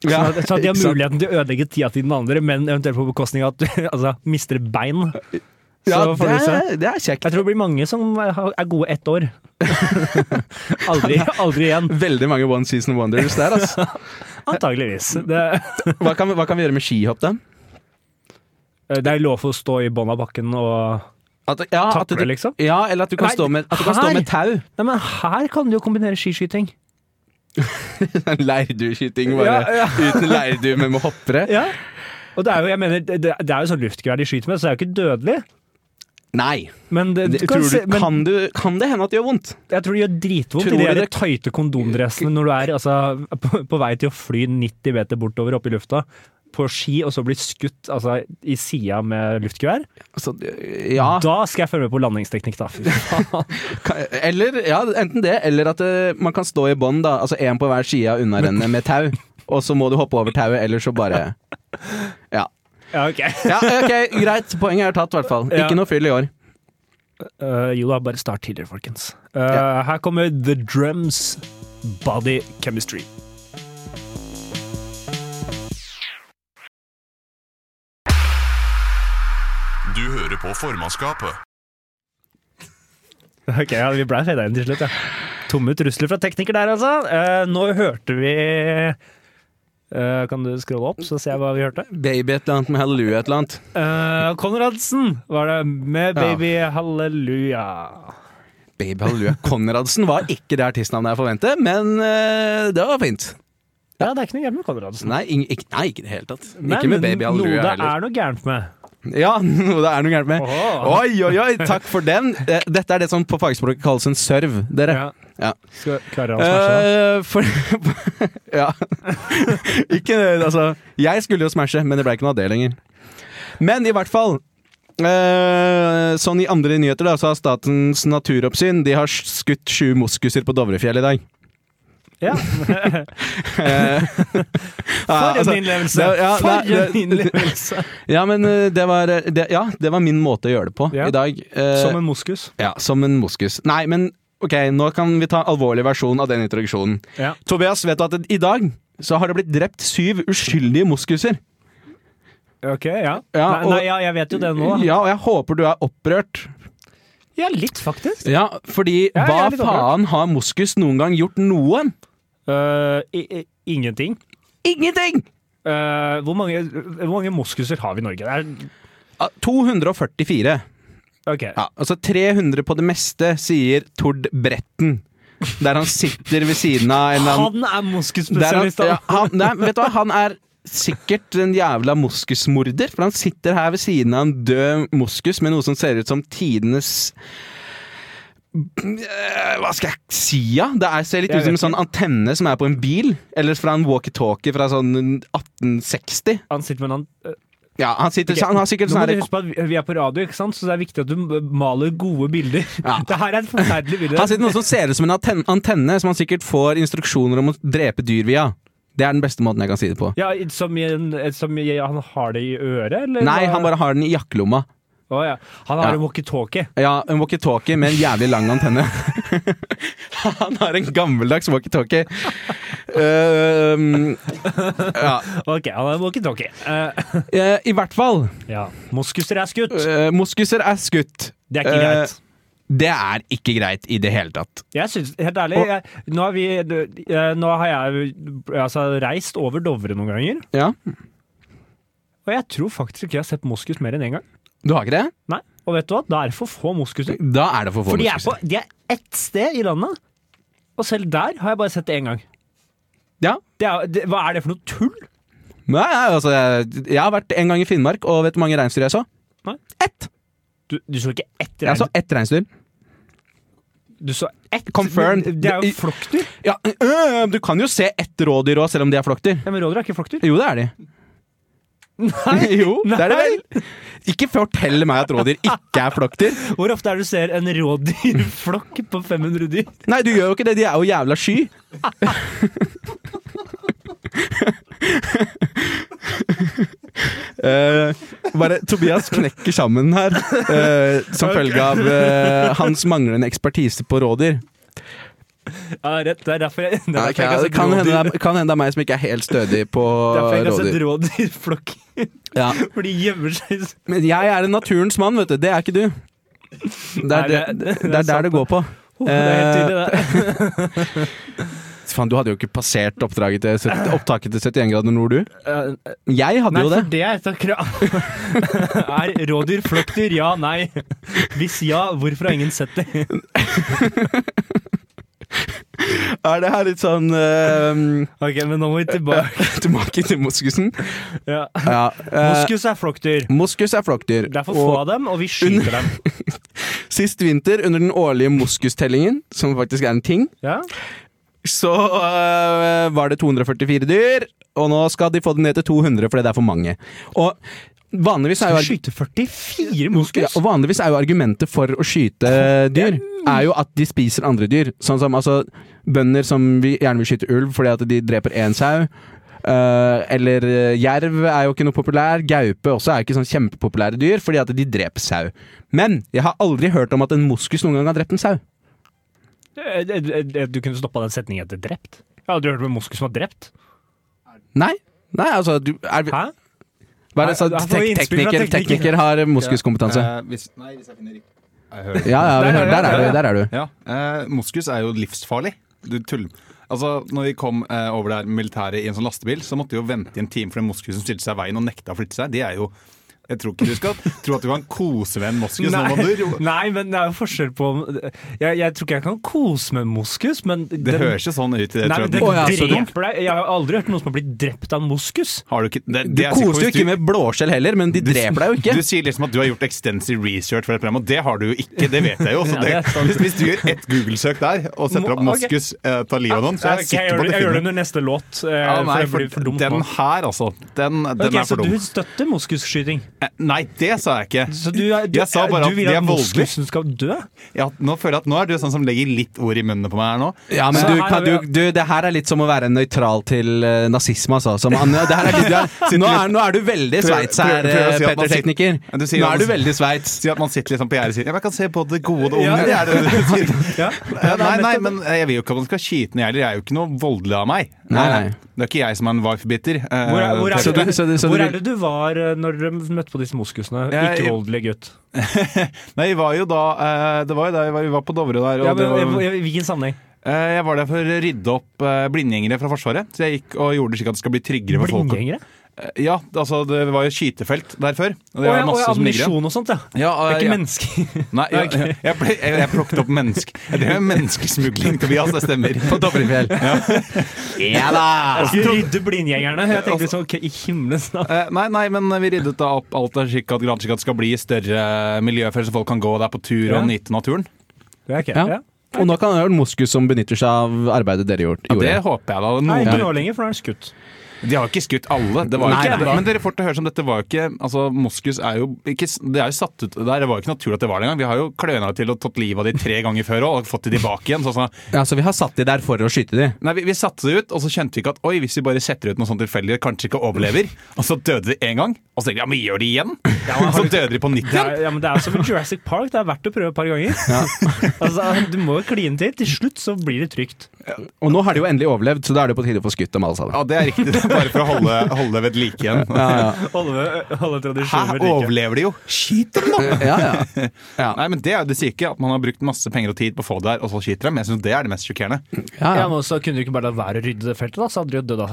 Sånn at, sånn at de har
ikke sant?
muligheten til å ødelegge tida til den andre, men eventuelt på bekostning av at du altså, mister bein.
Ja,
Så får
det
vi se.
er, det er kjekt.
Jeg tror det blir mange som har- er gode ett år. aldri, aldri igjen.
Veldig mange One Season Wonders der, altså.
Antageligvis. Det,
Hva kan, hva kan vi gjøre med skihopp, da?
det er lov for å stå i bånn av bakken og
At, ja, at du,
Takle, liksom?
Ja, eller at du kan
Nei,
stå med, at du kan stå
her!
med tau.
Nei, men her kan du jo kombinere skiskyting.
Leirdueskyting,
Ja,
bare.
ja.
Uten leirdu, men med hoppere.
Ja. Og det er jo, jeg mener, det, det er jo sånn luftgevær de skyter med, så det er jo ikke dødelig.
Nei.
Men, det,
Det,
du
tror
kan
du,
se, men
kan, du, kan det hende at det gjør vondt?
jeg tror det gjør dritvondt
Tror
i de
du
der
det-
tøyte kondomdressene når du er altså, på, på vei til å fly 90 meter bortover oppe i lufta på ski, og så bli skutt altså, i sida med luftgevær.
Altså, ja.
Da skal jeg følge med på landingsteknikk, da. Fy faen.
Ka- Eller, ja, enten det, eller at eh, man kan stå i bånd, da. Altså én på hver side av unnarennet med tau. Og så må du hoppe over tauet, eller så bare Ja.
Ja, ok.
ja ok, greit. Poenget er tatt, i hvert fall.
Ja.
Ikke noe fyll i år.
Eh, jo da, bare start tidligere, folkens. Eh,
Ja.
Her kommer The Drums Body Chemistry.
Du hører på formannskapet.
Ok, ja, Vi ble feda inn til slutt, ja. Tomme trusler fra tekniker der, altså. Eh, nå hørte vi eh, Kan du scrolle opp, så ser jeg hva vi hørte?
Baby et eller annet med halleluja et eller annet.
Eh, Konradsen var det med
Ja.
'Baby Halleluja'.
Baby halleluja. Konradsen var ikke det artistnavnet jeg forventet, men eh, det var fint.
Ja, det er ikke noe gærent med Konradsen.
Nei, ing, ikke, nei, ikke i det hele tatt.
Nei,
ikke med
men
Baby Halleluja
Noe det
heller.
er noe gærent med.
Ja, noe det er noe gærent med.
Åhå.
Oi, oi, oi, takk for den! Eh, Dette er det som på fagspråket kalles en serv, dere.
Ja.
Ja.
Skal klarer han å smashe det?
Eh, for Ja. ikke Altså, jeg skulle jo smashe, men det ble ikke noe av det lenger. Men i hvert fall eh, sånn i andre nyheter da, så har Statens naturoppsyn De har skutt sju moskuser på Dovrefjell i dag.
Ja.
Eh, ja,
For en
altså,
innlevelse!
det- ja, det-
For en
det-
innlevelse!
Ja, men eh, det var, eh, det, ja, det var min måte å gjøre det på
Ja.
i dag. Eh,
Som en moskus.
ja, som en moskus. Nei, men ok, nå kan vi ta en alvorlig versjon av den introduksjonen.
Ja.
Tobias, vet du at i dag så har det blitt drept syv uskyldige moskuser?
Ok, ja.
Ja,
nei,
og-
nei, ja, jeg vet jo det nå. da.
Ja, og jeg håper du er opprørt.
Ja, litt, faktisk.
Ja, fordi
Ja, jeg er
hva
litt opprørt.
faen har moskus noen gang gjort noe?
Eh, i, i, ingenting.
Ingenting!
Eh, hvor, mange, hvor mange moskuser har vi i Norge? Det er,
Ah, 244.
ok.
Ja, altså 300 på det meste, sier Tord Bretten. Der han sitter ved siden av en eller annen
Han er
Der han,
moskusspesialist!
ja,
Han,
han, nei, vet du hva? Han er sikkert en jævla moskusmorder, for han sitter her ved siden av en død moskus med noe som ser ut som tidenes Eh, Hva skal jeg si, da? Det er, ser litt
Jeg
ut som en
vet
sånn antenne som er på en bil. Eller fra en walkietalkie fra sånn 1860.
han sitter med en annen eh,
Ja, han, sitter,
Ok,
han har sikkert
Nå
sånn
må du
her-
huske på at vi- vi er på radio, ikke sant? så det er viktig at du maler gode bilder.
Ja.
Det her er et forferdelig bilde.
Han sitter med noe som ser ut som en anten- antenne, som han sikkert får instruksjoner om å drepe dyr via. Det er den beste måten jeg kan si det på.
Ja, i- som, i en, eh, som i, han har det i øret, eller?
Nei,
hva?
han bare har den i jakkelomma.
Å, ja. Han har
Ja.
en walkietalkie.
Ja, en walkietalkie med en jævlig lang antenne. Han har en gammeldags walkietalkie. Uh, ja.
Ok, han har en walkietalkie. Eh,
Eh, I hvert fall,
ja. Moskuser er skutt!
eh, moskuser er skutt.
Det er ikke
Eh,
greit.
Det er ikke greit i det hele tatt.
Jeg synes, helt ærlig,
Og-
jeg, nå, har vi, eh, nå har jeg altså, reist over Dovre noen ganger,
Ja.
og jeg tror faktisk ikke jeg har sett moskus mer enn én gang.
Du har ikke det?
Nei, Og vet du hva, det er for få moskuser.
Da er det for få
For de er, på,
moskuser.
de er ett sted i landet, og selv der har jeg bare sett det én gang.
Ja.
Det er, det, hva er det for noe tull?
Nei, nei, altså, jeg, jeg har vært en gang i Finnmark, og vet du hvor mange reinsdyr jeg så?
Nei.
Ett!
Du, du så ikke ett
Jeg
rein?
så ett reinsdyr.
Du så ett?
Confirmed.
Men Det er jo
Det-
flokkdyr.
Ja, øh, du kan jo se ett rådyr òg, selv om de er flokkdyr.
Ja, men rådyr er ikke flokkdyr.
Jo, det er de.
Nei.
jo, det er det
Nei.
vel. Ikke fortell meg at rådyr ikke er flokkdyr.
Hvor ofte er det du ser en rådyrflokk på 500 dyr?
Nei, du gjør jo ikke det. De er jo jævla sky. Eh, bare Tobias knekker sammen her eh, som følge av eh, hans manglende ekspertise på rådyr.
Ja, rett, det er derfor jeg, det er
Nei,
derfor jeg
det
ikke
Altså, kan
har sett
hende
rådyr.
det er- kan hende det er meg som ikke er helt stødig på
Derfor jeg ikke har sett
rådyr.
rådyrflokk.
Ja.
For de gjemmer seg.
Men jeg er en naturens mann, vet du. Det er ikke du. Det
Nei,
er, det,
det-
det,
det er
er der det går på.
Oh, det er helt
Eh,
tydelig, det.
Faen, du hadde jo ikke passert oppdraget til 70, opptaket til 71 grader nord, du.
Eh,
Jeg hadde
Nei,
jo det.
for det er et av krav. Er rådyr flokkdyr? Ja, nei. Hvis ja, hvorfor har ingen sett det?
Er det her litt sånn eh,
Ok, men nå må vi tilbake.
Tilbake til moskusen.
Ja.
Ja, eh,
Moskus er flokkdyr.
moskus er flokkdyr.
Det er for få
Og
av dem, og vi skyter dem.
sist vinter, under den årlige moskustellingen, som faktisk er en ting,
Ja?
så øh, var det 244 dyr, og nå skal de få det ned til 200 fordi det er for mange. Og vanligvis er jo,
Vi
arg-
skyter 44
ja,
moskus!
og vanligvis er jo argumentet for å skyte dyr er jo at de spiser andre dyr. Sånn som altså, bønder som vi gjerne vil skyte ulv fordi at de dreper én sau. øh, eller øh, jerv er jo ikke noe populær. Gaupe også er jo ikke sånn kjempepopulære dyr fordi at de dreper sau. Men jeg har aldri hørt om at en moskus noen gang har drept en sau.
Eh, eh, eh, Du kunne stoppa den setningen etter drept. Ja, du hørte om en moskus som var drept?
Nei. Nei, altså du, er, vi-
Hæ?
Hva er det, så,
Her får vi
tek
innspill fra
tekniker,
tekniker.
tekniker har moskuskompetanse.
Eh, hvis, nei, hvis jeg finner riktig Jeg hører det.
Ja, ja, vi
Der er
hører,
jeg,
der er du. Der er du.
Ja, eh, moskus er jo livsfarlig. Du tuller. Altså, når vi kom eh, over der militæret i en sånn lastebil, så måtte vi jo vente i en time for en moskus som stilte seg i veien og nekta å flytte seg. Det er jo Jeg tror ikke du skal tro at du kan kose med en moskus når man dør. jo.
nei, men det er jo forskjell på jeg, jeg tror ikke jeg kan kose med en moskus, men
Det høres jo sånn ut. i Det,
Nei, men
tror jeg.
den
Å, ja, så dumt.
dreper deg. Jeg har aldri hørt noen som har blitt drept av en moskus.
har du ikke det,
Du
det er sikkert
koste jo
hvis
ikke med blåskjell heller, men de
du-
dreper deg jo
Du
ikke.
sier liksom at du har gjort extensive research for et program, og det har du jo ikke. Det vet jeg jo. Så
Ja, det
det,
er sant.
hvis, hvis du gjør ett Google-søk der og setter opp
Må- ok.
moskus eh, ta livet av noen, så
Ok,
er jeg
jeg, gjør,
sikker på
det-
at
jeg
du
gjør det
finner
under neste låt, eh,
Ja, nei,
for det blir
for
for dumt
den
nå.
her, altså. Den, den
Ok,
er
så
for dum.
du støtter moskusskyting?
Eh, Nei, det sa jeg ikke.
Så du, er- du,
Jeg sa bare
du
at
vil
det
at
er voldelig.
moskusen skal dø?
Ja, nå føler jeg at nå er du sånn som legger litt ord i munnen på meg her nå.
Ja, men
Så
du,
her
kan,
er vi-
du, du, det her er litt som å være nøytral til eh, nazisme, altså. Som, an- det her er litt, du er, nå, er, nå er du veldig
Prøv-
Sveits
prøv-
her, eh,
prøv å si at man
Petter Tekniker.
sitter- Du sier
Nå
at
er du
man-
veldig Sveits.
Si at man sitter liksom på gjerdet og sier Ja, men jeg kan se både det gode og det
Ja, ja.
onde. det er det du sier.
Ja.
Ja, nei, nei, men eh, jeg vil jo ikke at man skal skyte ned heller. Jeg er jo ikke noe voldelig av meg.
Nei, nei.
Det er ikke jeg som er en wife-bitter. Eh,
Hvor er, hvor er,
Så
det,
du- så du- så
hvor
du-
er det du var eh, når du møtte på disse moskusene?
Jeg-
Ikke-voldelige gutt.
Nei, vi var jo da eh, Det var jo da vi var- vi var på Dovre der. Og
Ja,
det
men,
var,
i- I hvilken sammenheng?
eh, jeg var der for å rydde opp eh, blindgjengere fra Forsvaret. Så jeg gikk og gjorde det slik at det skal bli tryggere for folk.
Blindgjengere?
Eh, Ja, altså det var jo skytefelt der før. Og
Å
det var
ja, å ja,
masse som ligger igjen.
ammunisjon og sånt, ja.
Ja,
Det er
eh,
ikke
ja.
mennesker.
Nei, jeg, jeg, jeg, ble- jeg, jeg plukket opp menneske Jeg drev med menneskesmugling, Tobias, det stemmer. På Dovrefjell.
Ja da!
Jeg skulle rydde blindgjengerne. Jeg tenkte
Altså-
liksom, ok, i himmelens navn.
Eh, nei, nei, men vi ryddet da opp alt der slik at grad slik at det skal bli større miljø for så folk kan gå der på tur
Ja.
og nyte naturen.
Ja, ok,
Ja.
ja.
Og nå kan det være en moskus som benytter seg av arbeidet dere gjorde.
Ja,
gjorde.
det håper jeg da.
Nei,
Noen,
ikke nå lenger, for nå er den skutt.
De har jo ikke skutt alle. Det var jo
Nei,
ikke,
nei.
men dere får til å høre som dette var jo ikke Altså, Moskus er jo ikke Det er jo satt ut der. Det var jo ikke naturlig at det var det engang. Vi har jo kløna til og tatt livet av de tre ganger før også, og fått de tilbake igjen. Sånn, sånn.
Ja, så vi har satt de der for å skyte de.
Nei, vi, vi satte det ut, og så kjente vi ikke at Oi, hvis vi bare setter ut noe sånt tilfeldig, kanskje ikke overlever. Og så døde de én gang, og så tenkte vi ja, men vi gjør det igjen. så døde de på nytt
Det
igjen.
er, ja, men det er som i Jurassic Park, det er verdt å prøve et par ganger. altså, du må jo kline til. Til slutt så blir det trygt.
Og nå har de jo endelig overlevd, så da er det på tide å få skutt dem alle sammen.
Ja, det er riktig. Det er bare for å holde, holde det ved like igjen.
Holde, holde
Her
tradisjoner like.
overlever de jo! Skyt dem, da!
Ja, ja.
Nei, men Det er jo det syke, at man har brukt masse penger og tid på å få det her, og så skyter dem. Jeg synes det er det mest sjokkerende.
ja,
Ja,
ja.
men også Kunne du ikke bare latt være å rydde det feltet, da? Så hadde de jo dødd av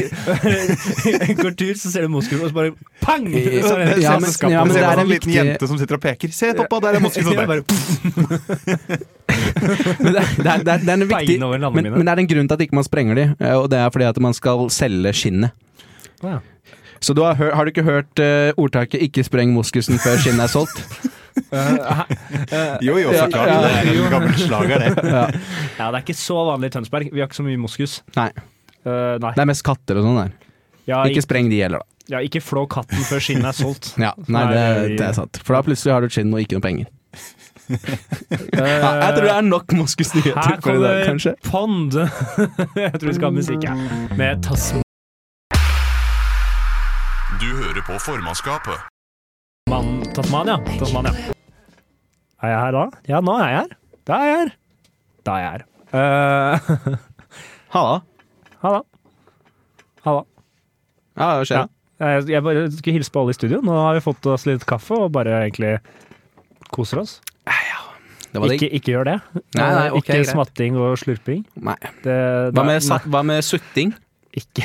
sjøl. Går tur, så ser du moskus, og så bare pang! Så er det
Ja, men-
selskapet.
ja, men
Og
det
så
er en
bare sånn liten
viktig-
jente som sitter og peker. Se, pappa, der er moskus! Og
Ja,
sånn der.
bare, pff,
Men det, er- det, er- det, er- det er en viktig
Bein over landene
men,
mine.
men det er en grunn til at ikke man sprenger de, eh, og det er fordi at man skal selge skinnet.
ja.
Så du har, hør, har du ikke hørt eh, ordtaket 'ikke spreng moskusen før skinnet er solgt'?
Jo, jo, så
Ja,
klart.
ja.
Det er en gammel slager, det.
ja, det er ikke så vanlig i Tønsberg. Vi har ikke så mye moskus.
Nei.
Eh, nei.
Det er mest katter og sånn der.
Ja,
Ikke
ikke,
spreng de heller, da.
ja, ikke flå katten før skinnet er solgt.
Ja, nei,
Nei,
det, det er sant. For da plutselig har du et skinn og ikke noe penger.
Eh,
Ja, jeg tror det er nok moskusnyheter
Her
for i dag,
kommer
kanskje.
Pond. Jeg tror vi skal ha musikk, jeg. Med Tasman
Du hører på formannskapet.
Tasmania. Tasmania. Er jeg her da? Ja, nå er jeg her. Da er jeg her. da jeg er. Eh,
Halla.
ha det. Ha det.
Ja, hva skjer?
Ja. Jeg jeg bare skulle hilse på alle i studio. Nå har vi fått oss litt kaffe og bare egentlig koser oss.
Det var
Ikke,
digg.
ikke gjør det.
Nei, nei, ok,
ikke
greit.
smatting og slurping.
Nei.
Det, det
Hva
er-
med, sat- hva med sutting?
nei, Ikke,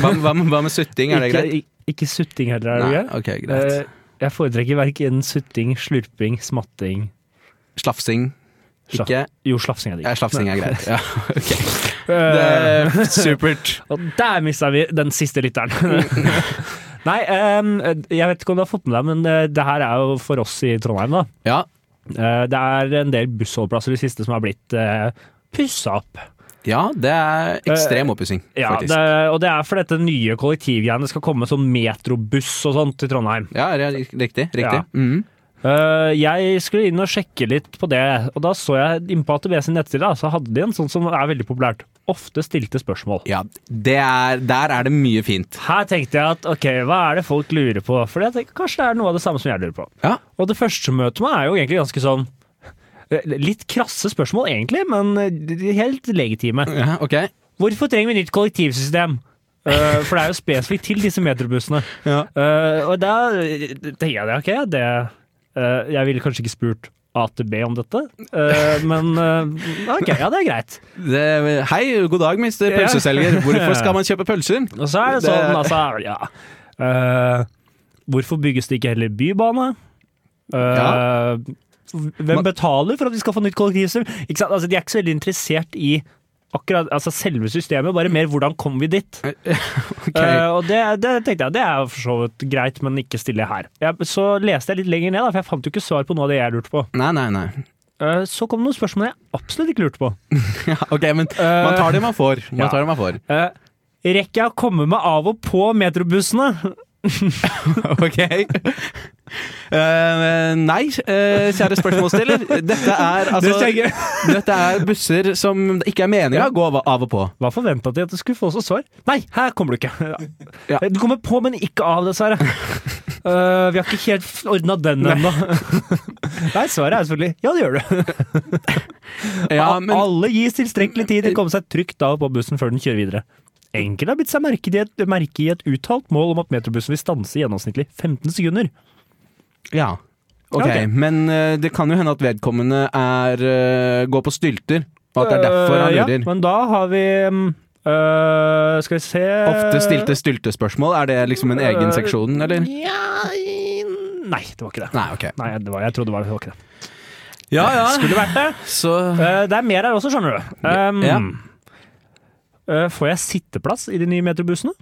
Hva, hva, med- hva med sutting, er det greit?
ikke, ikke sutting heller, er det
Nei,
greit?
ok, greit.
Eh, Jeg foretrekker verken sutting, slurping, smatting
Slafsing.
Slaff-
Ikke?
Jo, slafsing er digg.
Ja, slafsing er greit. Ja, ok. Det
Eh,
er supert.
Og der mista vi den siste lytteren. Nei, em, jeg vet ikke om du har fått med deg, men eh, det her er jo for oss i Trondheim, da.
Ja.
Eh, Det er en del bussholdeplasser i det siste som har blitt uh, pussa opp.
ja, det er ekstrem oppussing,
Eh, Ja,
faktisk.
det, og det er fordi dette nye kollektivgreiene skal komme som metrobuss og sånt til Trondheim.
Ja, det er riktig. riktig.
Ja.
Mhm.
Eh, jeg skulle inn og sjekke litt på det, og da så jeg inne på AtB sin nettside, da, så hadde de en sånn som er veldig populært. Ofte stilte spørsmål.
ja det er, der er det mye fint.
Her tenkte jeg at ok, hva er det folk lurer på? For jeg tenker kanskje det er noe av det samme som jeg lurer på.
Ja.
Og det første møtet med er jo egentlig ganske sånn eh, Litt krasse spørsmål egentlig, men eh, helt legitime.
ja ok.
Hvorfor trenger vi nytt kollektivsystem? Eh, for det er jo spesifikt til disse metrobussene.
Ja.
Eh, og da eh, tenker jeg det, ok, det eh, Jeg ville kanskje ikke spurt AtB om dette, eh, men eh, ok, ja, det er greit.
Det, hei, god dag, mister
Ja.
pølseselger. Hvorfor skal man kjøpe pølser?
Og så er det
Det-
sånn, altså, ja Eh, Hvorfor bygges det ikke heller bybane? Eh,
Ja.
Hvem
Man-
betaler for at vi skal få nytt kollektivsystem? Ikke sant? Altså, de er ikke så veldig interessert i akkurat altså, selve systemet, bare mer hvordan kom vi dit? Eh, og det, det tenkte jeg, det er jo for så vidt greit, men ikke stille her. Jeg, så leste jeg litt lenger ned, da, for jeg fant jo ikke svar på noe av det jeg lurte på.
Nei, nei, nei.
Eh, så kom det noen spørsmål jeg absolutt ikke lurte på.
Ja, ok, men man tar det man får. Man
ja.
tar det man får.
Eh, rekker jeg å komme meg av og på metrobussene?
Ok. Eh, nei, eh, kjære spørsmålsstiller. Dette er, altså,
tenker jeg.
dette er busser som det ikke er meninga å gå av- av og på.
Hva forventa de at du skulle få som svar? Nei, her kommer du ikke!
Ja.
Du kommer på, men ikke av, dessverre. Eh, vi har ikke helt ordna den ennå. Nei, svaret er selvfølgelig ja, det gjør du.
Ja, men
Alle gis tilstrekkelig tid til å komme seg trygt av på bussen før den kjører videre. Enkelte har bitt seg merke i, et, merke i et uttalt mål om at metrobussen vil stanse i gjennomsnittlig 15 sekunder.
Ja. Ok,
Ok.
men eh, det kan jo hende at vedkommende er eh, går på stylter, og at det er derfor han
Eh,
lurer.
Ja, men da har vi mm, eh, Skal vi se
Ofte stilte styltespørsmål. Er det liksom en egen
Eh,
seksjon, eller?
Ja, i- Nei, det var ikke det.
Nei, ok.
Nei, det var, jeg trodde det var, det var ikke det.
Ja, ja.
Skulle vært det.
Så
Eh, det er mer her også, skjønner du. Um,
Ja.
eh, får jeg sitteplass i de nye metrobussene?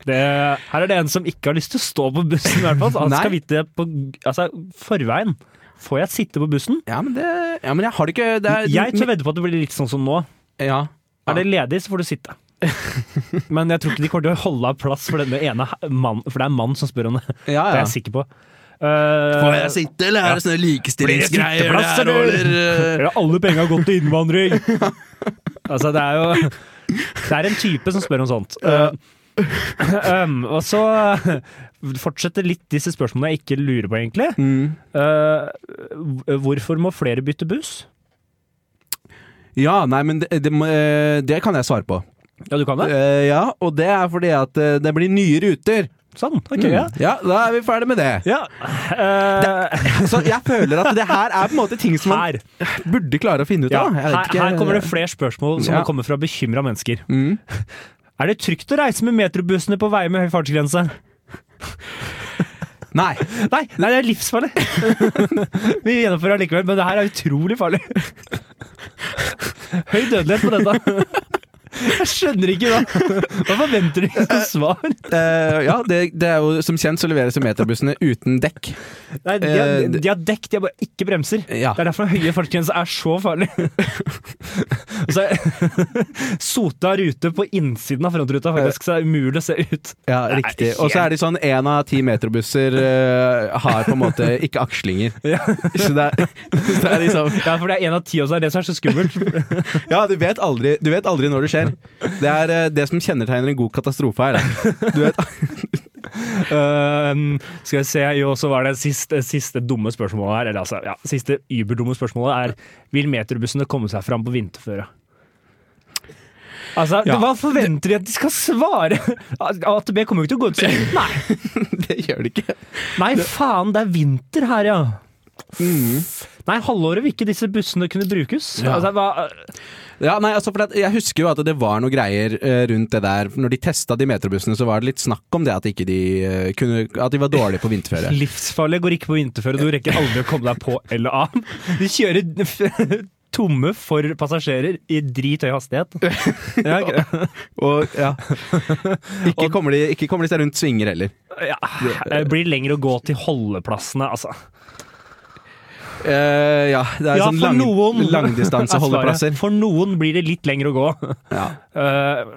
Det, her er det en som ikke har lyst til å stå på bussen, i hvert fall. så Han skal
Nei.
vite på altså, forveien. Får jeg sitte på bussen?
Ja, men det Ja, men jeg har det ikke det er,
Jeg tør vedde på at det blir litt sånn som nå.
Ja.
Er det ledig, så får du sitte. Men jeg tror ikke de kommer til å holde av plass for denne ene mannen, for det er en mann som spør om det.
Ja, ja.
Det er jeg sikker på. Eh,
sitte, eller er det sånne
Blir det sitteplass,
eh?
eller? Ja, alle penga gått til innvandring? altså, det er jo Det er en type som spør om sånt. Eh, em, og så eh, fortsetter litt disse spørsmålene jeg ikke lurer på, egentlig.
Mm.
Eh, hvorfor må flere bytte buss?
Ja, nei, men det, det, må- eh, det kan jeg svare på.
Ja, du kan det?
Eh, ja, og det er fordi at eh, det blir nye ruter.
Sånn. Ok, ja.
Ja, da er vi ferdig med Mm. det.
ja. eh,
Så jeg føler at det her er på en måte ting som man
her,
burde klare å finne ut
ja,
av. Jeg
her,
vet ikke.
her kommer det flere spørsmål som
Ja. Mm.
har kommet fra bekymra mennesker. Er det trygt å reise med metrobussene på veier med høy fartsgrense?
Nei.
Nei, nei, det er livsfarlig. Vi gjennomfører det likevel, men det her er utrolig farlig. Høy dødelighet på dette. Jeg skjønner ikke da. Hva forventer du som svar?
Eh, ja, det, det er jo som kjent så leveres jo metrobussene uten dekk.
Nei, de, har, de har dekk, de har bare ikke bremser.
Eh, Ja.
Det er derfor høye fartsgrenser er så farlig. Og så er sota rute på innsiden av frontruta, faktisk, så det er umulig å se ut.
Ja,
Det er
riktig.
helt-
Og så er det sånn én av ti metrobusser eh, har på en måte ikke akslinger. Så det er, så det er liksom
Ja, for det er én av ti, og så er det det som er så skummelt.
Ja, du vet aldri, du vet aldri når det skjer. Det er eh, det som kjennetegner en god katastrofe her. da. Du vet,
Eh, Ehm, skal vi se, jo, så var det siste, siste dumme spørsmålet her. Eller altså, ja, siste überdumme spørsmålet er Vil metrobussene komme seg fram på vinterføre? Altså,
Ja.
Hva forventer de at de skal svare? AtB kommer jo ikke til å gå ut selv. Nei,
Det gjør det ikke.
nei, faen, det er vinter her, ja. Nei, halvåret vil ikke disse bussene kunne brukes. Altså, hva,
Ja, nei, altså for at Jeg husker jo at det var noe greier eh, rundt det der. Når de testa de metrobussene, så var det litt snakk om det at, ikke de, eh, kunne, at de var dårlige på vinterføre.
livsfarlig går ikke på vinterføre. Du rekker aldri å komme deg på eller av. De kjører tomme for passasjerer i drithøy hastighet. Ja, ok.
Og, ja. ikke, kommer de, ikke kommer de seg rundt svinger heller.
ja, det blir lenger å gå til holdeplassene, altså.
Eh, ja, det er
Ja,
sånn
for
lang,
noen.
langdistanseholdeplasser.
For noen blir det litt lenger å gå.
Ja.
Eh,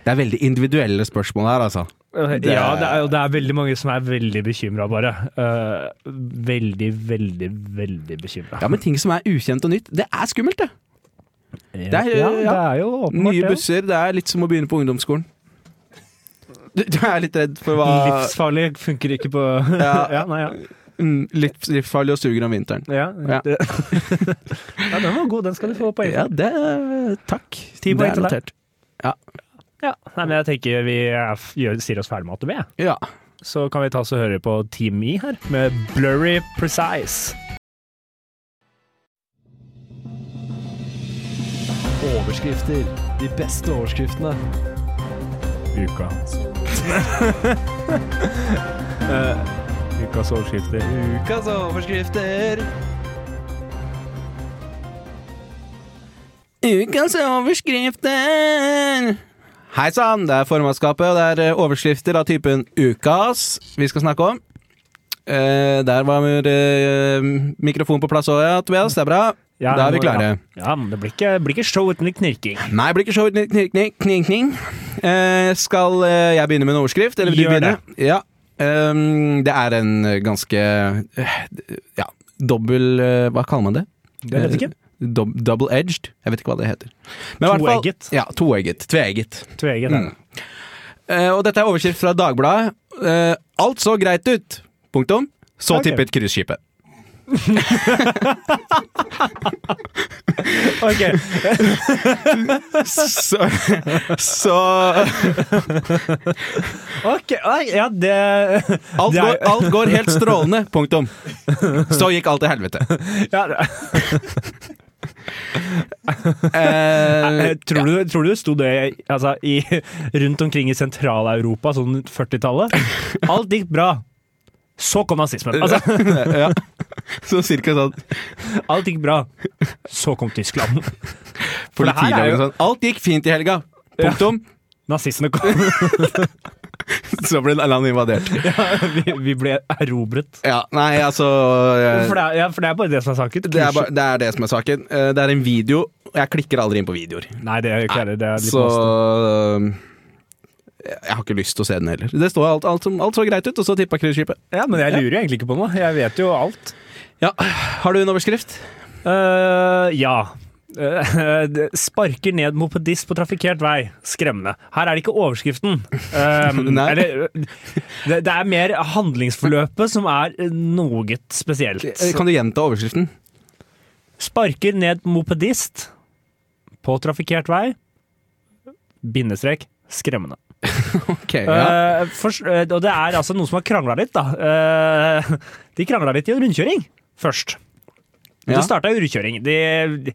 Det er veldig individuelle spørsmål her, altså.
ja, det er, og det er veldig mange som er veldig bekymra, bare. Eh, veldig, veldig, veldig bekymra.
Ja, Men ting som er ukjent og nytt, det er skummelt, det.
det,
er-
ja, det er jo åpenbart
Nye
det.
busser, det er litt som å begynne på ungdomsskolen. Du, du er litt redd for hva
Livsfarlig funker ikke på ja.
Ja.
nei, ja.
Mm, livs- Livsfarlig og suger om vinteren.
Ja,
Ja.
Det. ja, den var god. Den skal du få poeng
Ja,
for.
det Takk.
Ti
Det
poeng
er
til deg.
notert.
Ja. Nei, men jeg tenker vi er f- gjør, sier oss ferdig med AtB. jeg.
Ja.
Så kan vi ta oss og høre på Team E her, med Blurry Precise.
Overskrifter. De beste overskriftene.
Uka. Eh, ukas overskrifter.
Ukas overskrifter.
Ukas overskrifter! Hei sann, det er formannskapet, og det er eh, overskrifter av typen ukas vi skal snakke om. Eh, der var eh, mikrofonen på plass òg, ja, Tobias. Det er bra.
Ja,
da er vi
nå-
klare.
Ja, ja men det blir ikke, blir ikke show uten litt knirking.
Nei, det blir ikke show uten knirkning. knirkning. Eh, skal eh, jeg begynne med en overskrift, eller vil du
Gjør
begynne? Ja. Ehm, det er en eh, ganske eh, Ja, dobbel eh, Hva kaller man det? Eh,
Jeg vet ikke.
Dob double edged? Jeg vet ikke hva det heter. Men i hvert fall-
Toegget.
Ja, toegget. Tveegget.
Tveget.
Mm. Eh, og dette er overskrift fra Dagbladet. Eh, alt så greit ut! Punktum. Så
Ok.
tippet cruiseskipet.
Ok,
Så, så
ok, oi, ja, det
alt,
Det er-
går, alt går helt strålende. Punktum. Så gikk alt til helvete.
ja, det-
Eh,
Eh, Tror du, tror du det sto det altså, i, rundt omkring i Sentral-Europa, sånn 40-tallet? Alt gikk bra. Så kom nazismen. Altså,
ja. Så cirka sånn.
alt gikk bra. Så kom Tyskland. For det her er
Politiloven
jo
sånn. Alt gikk fint i helga. Punktum.
Nazistene kom.
Så ble landet invadert.
Vi, vi ble erobret.
Ja, nei, altså eh,
For det, er, ja, for det er bare det som er saken.
det er, bare, det er det som er saken. Eh, Det er en video, og jeg klikker aldri inn på videoer.
Nei, det er, klarer, det er litt
Så
masse.
eh, Jeg har ikke lyst til å se den heller. Det står alt, alt, som- alt så greit ut, og så tippa cruiseskipet.
Ja, men jeg lurer jo egentlig ikke på noe. Jeg vet jo alt.
Ja, har du en overskrift?
Eh, ja. Eh, det sparker ned mopedist på trafikkert vei. Skremmende. Her er det ikke overskriften. Um,
Nei.
eller, det, det er mer handlingsforløpet som er eh, noe spesielt.
Eh, Kan du gjenta overskriften?
Sparker ned mopedist på trafikkert vei. Bindestrek. Skremmende.
Ok, ja.
Eh, først- eh, og det er altså noen som har krangla litt, da. Eh, de krangla litt i en rundkjøring først.
Ja.
Det starta i rundkjøring. De,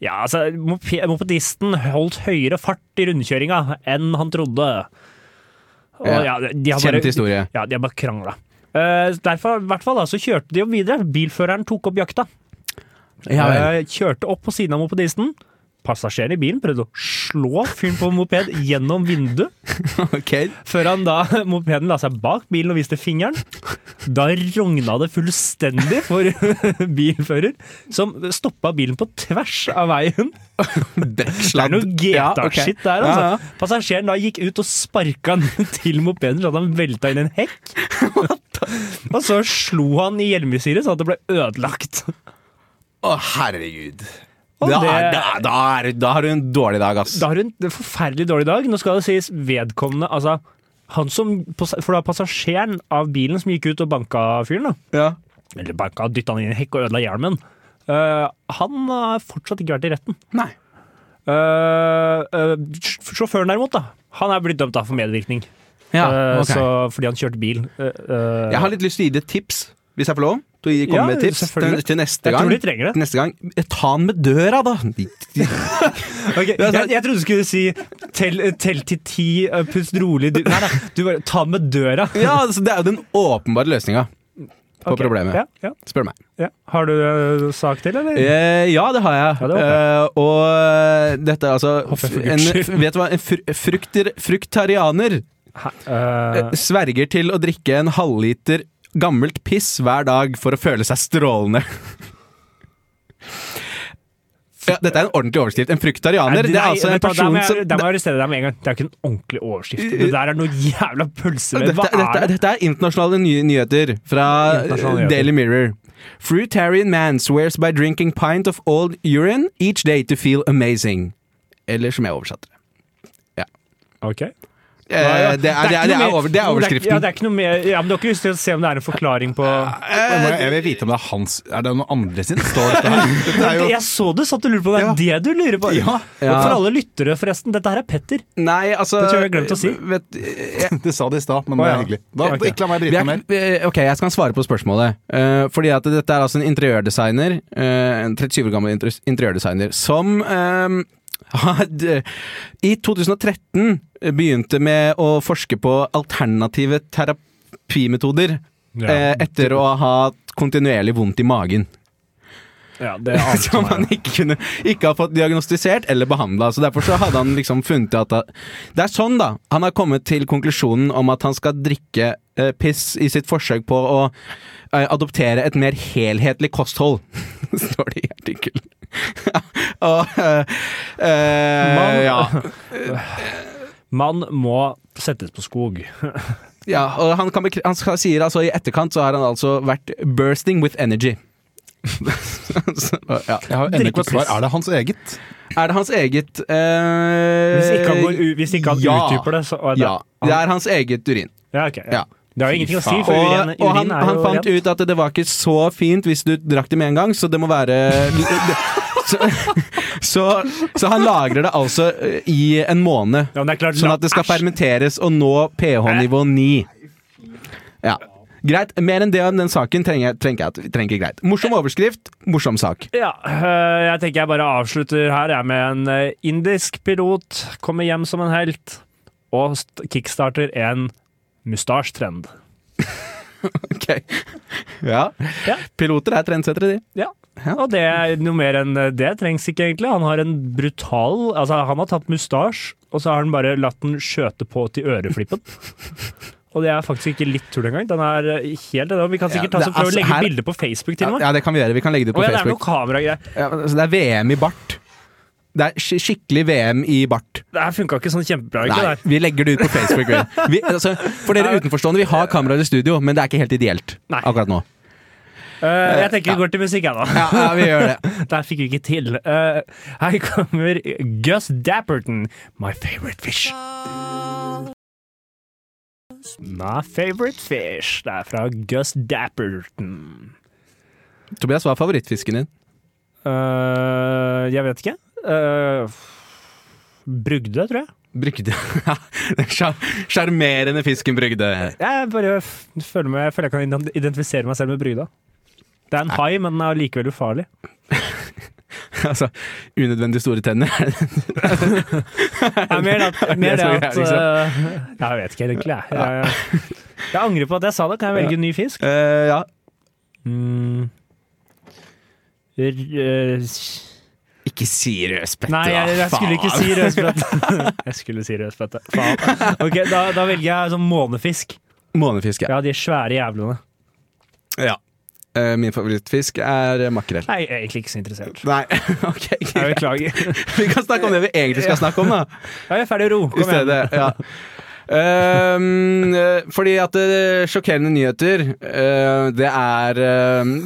ja, altså, mop- mopedisten holdt høyere fart i rundkjøringa enn han trodde. Og,
Ja.
ja, de har bare,
Kjent historie.
Ja, de har bare krangla. Eh, derfor, i hvert fall, da, så kjørte de jo videre. Bilføreren tok opp jakta.
Ja, vel.
Eh, kjørte opp på siden av mopedisten. Passasjeren i bilen prøvde å slå fyren på moped gjennom vinduet.
Ok.
Før han da, mopeden la seg bak bilen og viste fingeren. Da rogna det fullstendig for bilfører, som stoppa bilen på tvers av veien. Det er
Brekksladd.
noe GTA-shit der, altså.
Ja, ja.
Passasjeren da gikk ut og sparka han til mopeden så at han velta inn en hekk. Og så slo han i hjelmesyret sånn at det ble ødelagt.
Å, herregud.
Og
Da,
det-
er, da, da, er, da har du en dårlig dag, ass.
Da har hun en forferdelig dårlig dag. Nå skal det sies vedkommende, altså Han som, for det var passasjeren av bilen som gikk ut og banka fyren, da.
Ja.
Eller banka, dytta han inn i en hekk og ødela hjelmen. Eh, han har fortsatt ikke vært i retten.
Nei.
Eh, eh, sj- sjåføren derimot, da. Han er blitt dømt da, for medvirkning.
Ja,
Eh,
ok.
så, fordi han kjørte bil. Eh, eh,
Jeg har litt lyst til å gi deg et tips, hvis jeg får lov? Til å gi- komme
Ja,
med et tips til,
selvfølgelig.
til neste
jeg
gang.
tror de trenger det.
Neste gang, Eh, Ta han med døra, da!
Ok, jeg, jeg trodde du skulle si tell, tell til ti, eh, pust rolig du, Nei, nei, du bare ta med døra.
Ja, altså, Det er jo den åpenbare løsninga på
Ok,
problemet,
Ja, ja,
spør du meg.
ja. Har du eh, sak til, eller?
Eh, ja, det har jeg.
Ja, det håper
eh, og dette er altså
Håper jeg for
en,
Guds skyld.
Vet du hva? En fr frukter, fruktarianer
Eh,
eh, sverger til å drikke en halvliter gammelt piss hver dag for å føle seg strålende. Ja, dette er en ordentlig overskrift. En fruktarianer
Nei,
det er
nei,
altså en
vent da, der
person
må jeg-
som
Der må jeg arrestere deg med en gang. Det er jo ikke en ordentlig overskrift. Det der er noe jævla pølsevenn.
Dette,
Hva
dette,
Eh, er det?
dette er internasjonale ny nyheter fra eh,
Internasjonale nyheter.
Daily Mirror. Fruitarian man swears by drinking pint of old urine each day to feel amazing. Eller som jeg oversatte det.
Ok.
Eh,
Ja, ja.
det, er, det, er,
ikke
det,
noe
er
mer-
over, det er overskriften.
Ja, det er ikke noe mer ja, men Du har ikke lyst til å se om det er en forklaring på
Jeg, må- jeg vil vite om det er hans Er det noen andre sin? Står dette her? Dette er jo
Jeg så du satt og lurte på det. er det du lurer på?
Ja.
Ja.
Og for alle lyttere, forresten. Dette her er Petter.
Nei, altså
Det tror jeg jeg glemte å si.
Vet, eh,
Du sa det i stad, men
Å,
det er
ja.
hyggelig. Da,
Ja, ok.
Ikke la meg
vi
drite
er,
meg mer.
eh, ok, jeg skal svare på spørsmålet. Eh, fordi at dette er altså en interiørdesigner, eh, en 37 år gammel inter- interiørdesigner, som eh, had, i 2013 begynte med å forske på alternative terapimetoder eh, etter å ha hatt kontinuerlig vondt i magen.
Ja, det ante
Som han
meg.
ikke, kunne, ikke har fått diagnostisert eller behandla. Så derfor så hadde han liksom funnet at han- Det er sånn, da. Han har kommet til konklusjonen om at han skal drikke eh, piss i sitt forsøk på å eh, adoptere et mer helhetlig kosthold, står det i artikkelen. Og eh, eh,
Man-
ja.
Man må settes på skog.
ja. Og han, kan bekre han skal, sier altså i etterkant så har han altså vært 'bursting with energy'. så, ja.
Jeg har ennå ikke fått svar.
Drikkepiss.
Er det hans eget?
Er det hans eget eh,
Hvis ikke han, går, u- hvis ikke han
ja.
utdyper det, så er det,
Ja. Det er hans eget urin.
ja, ok, ja.
Ja.
Det har jo ingenting å si, for
Og,
urin,
og
urin
han,
er
han
jo
fant
rent.
ut at det var ikke så fint hvis du drakk det med en gang, så det må være så, så, så han lagrer det altså eh, i en måned,
Ja, men det er klart,
sånn at det skal fermenteres og nå pH-nivå 9. Ja. Greit. Mer enn det om den saken trenger, jeg- trenger, jeg- trenger ikke greit. Morsom overskrift, morsom sak.
Ja, øh, jeg tenker jeg bare avslutter her jeg med en øh, indisk pilot kommer hjem som en helt og st- kickstarter en mustasjetrend.
Ok. Ja.
Ja.
Piloter er trendsettere, de.
Ja. Og det er noe mer enn eh, det trengs ikke, egentlig. Han har en brutal Altså, han har tatt mustasje, og så har han bare latt den skjøte på til øreflippen. Og det er faktisk ikke litt tull engang. Den er øh, helt det. Vi kan
Ja,
sikkert ta
det
så
er
prøve
altså
å legge
her-
bilde på Facebook til og med.
Ja, det kan vi gjøre. Vi kan legge det ut på
Å ja, det er
Facebook.
noe kameragreier.
Ja, men altså, det er VM i bart. Det er sk skikkelig VM i bart.
Det her funka ikke sånn kjempebra, ikke det
Nei,
der.
vi legger det ut på Facebook. Vi. Vi, altså, for dere utenforstående, vi har kameraer i studio, men det er ikke helt ideelt
Nei.
akkurat nå.
Øh, jeg tenker vi går til musikk, jeg, da.
Ja, ja, vi gjør det.
Der fikk vi ikke til. Eh, her kommer Gus Dapperton, My Favorite Fish. My Favorite Fish. Det er fra Gus Dapperton.
Tobias, hva er favorittfisken din?
Eh, jeg vet ikke. Eh, brugde, tror jeg.
Brygde. Den sjar- Sjarmerende fisken Brygde.
Jeg bare f- føler, meg, jeg føler jeg kan ident- identifisere meg selv med brygda. Det er en hai, men den er likevel ufarlig.
Altså, unødvendig store tenner.
Det er mer, at, mer
Det
det
er så
at
greit,
eh, Jeg vet ikke egentlig, jeg. jeg. Jeg angrer på at jeg sa det. Kan jeg velge en ny fisk?
Eh, ja.
Mm. R eh, s-
Ikke si rødspette,
nei, jeg, jeg skulle ikke si rødspette. jeg skulle si rødspette. Faen. Ok, da, da velger jeg sånn månefisk.
Månefisk, ja.
Ja, de svære jævlene.
ja. Eh, min favorittfisk er eh, makrell.
Nei, jeg er egentlig ikke så interessert.
Nei, ok.
Jeg
greit.
beklager.
Vi kan snakke om det vi egentlig skal snakke om, da.
Ja, jeg er ferdig å ro.
I
Kom igjen.
stedet, ja. Ehm, eh, fordi at eh, sjokkerende nyheter, eh, det er eh,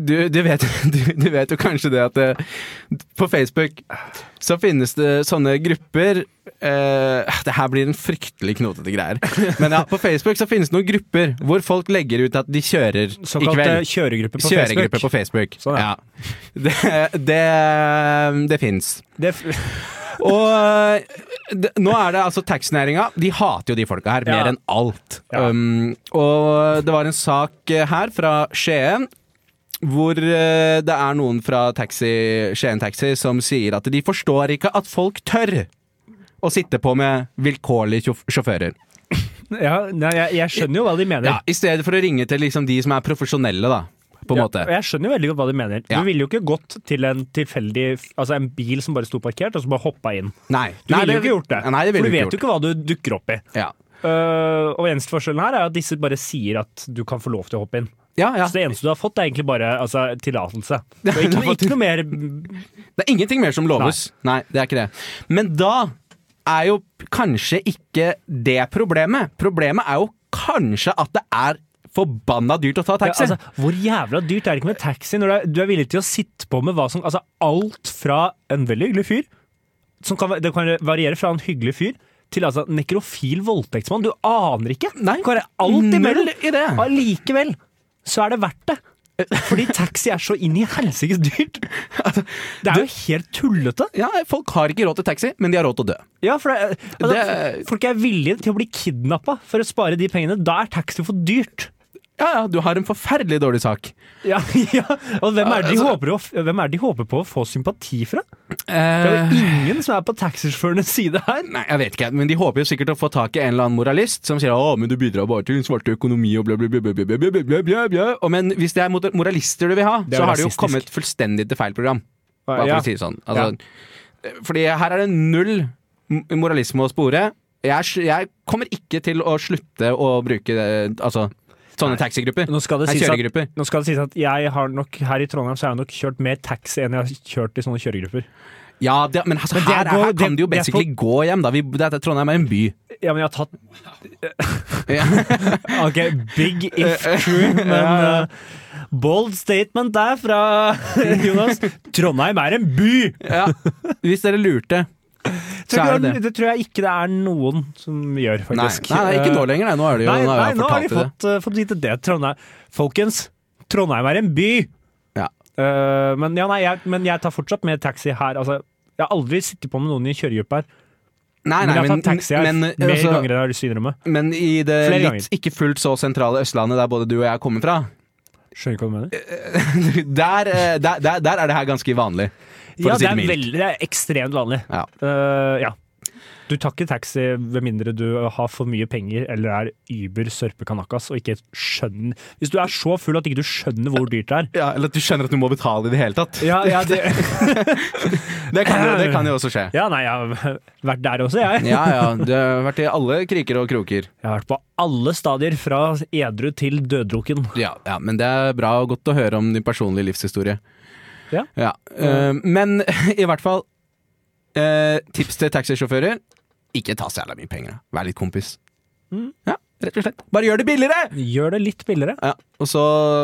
du, du, vet, du, du vet jo kanskje det at eh, på Facebook så finnes det sånne grupper eh, Det her blir en fryktelig knotete greier. Men ja, på Facebook så finnes det noen grupper hvor folk legger ut at de kjører i
Såkalt eh,
kveld.
kjøregruppe på
Kjøregruppe på Facebook.
Facebook. Sånn,
ja.
ja.
Det, eh, det, det fins.
Det er f-
Og eh, det, nå er det altså taxinæringa. De hater jo de folka her
Ja.
mer enn alt.
Ja.
Um, og det var en sak eh, her fra Skien. Hvor eh, det er noen fra taxi, Skien Taxi som sier at de forstår ikke at folk tør å sitte på med vilkårlige sjåf- sjåfører.
ja, nei, jeg, jeg skjønner jo hva de mener.
Ja, I stedet for å ringe til liksom, de som er profesjonelle, da. På en
Ja,
måte.
og Jeg skjønner jo veldig godt hva de mener.
Ja.
Du ville jo ikke gått til en tilfeldig Altså en bil som bare sto parkert, og så bare hoppa inn.
Nei,
Du
nei,
ville jo ikke gjort det.
Nei, det
for
ville
du
du
vet
ikke
jo
gjort.
ikke hva du dukker opp i.
Ja.
Øh, og eneste forskjellen her er at disse bare sier at du kan få lov til å hoppe inn.
Ja, ja.
Så det eneste du har fått, er egentlig bare altså, tillatelse. Det er
Du
Ikke,
har fått-
ikke noe mer
Det er ingenting mer som loves. Nei. det er ikke det. Men da er jo kanskje ikke det problemet. Problemet er jo kanskje at det er forbanna dyrt å ta
Ja,
taxi.
altså, Hvor jævla dyrt er det ikke med taxi når du er, du er villig til å sitte på med hva som Altså alt fra en veldig hyggelig fyr som kan, Det kan variere fra en hyggelig fyr til altså nekrofil voldtektsmann. Du aner ikke!
Nei,
det kan være alt imellom.
null i det.
Allikevel så er det verdt det. Fordi taxi er så inn i helsikes dyrt.
Altså,
Det er jo helt tullete.
ja, folk har ikke råd til taxi, men de har råd til å dø.
Ja, for det, altså,
Det-
Folk er villige til å bli kidnappa for å spare de pengene. Da er taxi for dyrt.
Ja, ja, du har en forferdelig dårlig sak.
Ja, ja. Og hvem er, det de
Altså-
håper å, hvem er det de håper på å få sympati fra? Det er
Eh,
jo ingen som er på taxisjåførenes side her.
nei, jeg vet ikke, men de håper jo sikkert å få tak i en eller annen moralist som sier å, men du bidrar bare til den svarte økonomi og bla, bla, bla, bla, bla, bla, bla, bla, bla. Og Men hvis det er mot- moralister du vil ha,
Det er
så har du jo
rasistisk.
kommet fullstendig til feil program. Bare for
Ja.
å si det sånn. Altså, Fordi her er det null m- moralisme å spore. Jeg, er- jeg kommer ikke til å slutte å bruke eh, altså, sånne taxigrupper.
Nå skal, det
Nei,
sies
kjøregrupper.
at, nå skal det sies at jeg har nok her i Trondheim så har jeg nok kjørt mer taxi enn jeg har kjørt i sånne kjøregrupper.
Ja, det, men, altså,
Men det
her, er-
går-
her
det-
kan du jo
det er
basically gå hjem, da. Vi, det, er- Trondheim er en by.
Ja, men jeg har tatt
Ja.
OK, big if true, men eh, bold statement der fra Jonas. Trondheim er en by!
Ja. Hvis dere lurte.
Det
Så er
tror,
det
jeg,
det.
det tror jeg ikke det er noen som gjør,
Nei,
faktisk.
nei, nei, ikke nå lenger. Nei, nå er det jo,
Eh, Nei,
nå har
nei,
jeg
nå har de
fortalt det.
fått, eh, fått vite det. Trondheim. Folkens, Trondheim er en by!
Ja.
Eh, men, ja, nei, jeg, men jeg tar fortsatt med taxi her. Altså, jeg har aldri sittet på med noen i kjøregruppe her.
Nei,
Men
nei,
jeg har tatt taxi her
men,
mer
altså,
ganger enn jeg har lyst til å innrømme.
men i det
Flere ganger.
litt ikke fullt så sentrale Østlandet, der både du og jeg kommer fra,
Skjønner ikke hva du
Eh,
mener.
der, eh, der, der, der er det her ganske vanlig. For å
Ja,
si
det
det
er,
mildt.
veldig, det er ekstremt vanlig.
Ja.
Eh, ja. Du tar ikke taxi med mindre du har for mye penger eller er über sørpekanakkas og ikke skjønner Hvis du er så full at ikke du skjønner hvor dyrt det er.
Ja, Eller at du skjønner at du må betale i det hele tatt.
Ja, ja, det,
Det kan jo, det kan jo også skje.
ja, nei, jeg har vært der også, jeg.
Ja, ja. Du har vært i alle kriker og kroker.
Jeg har vært på alle stadier, fra edru til døddrukken.
Ja, ja, Men det er bra og godt å høre om din personlige livshistorie.
Ja.
eh, men i hvert fall eh, Tips til taxisjåfører. Ikke ta så jævla mye penger. da. Vær litt kompis.
Mm.
Ja, rett og slett. Bare gjør det billigere!
Gjør det litt billigere.
Ja, og så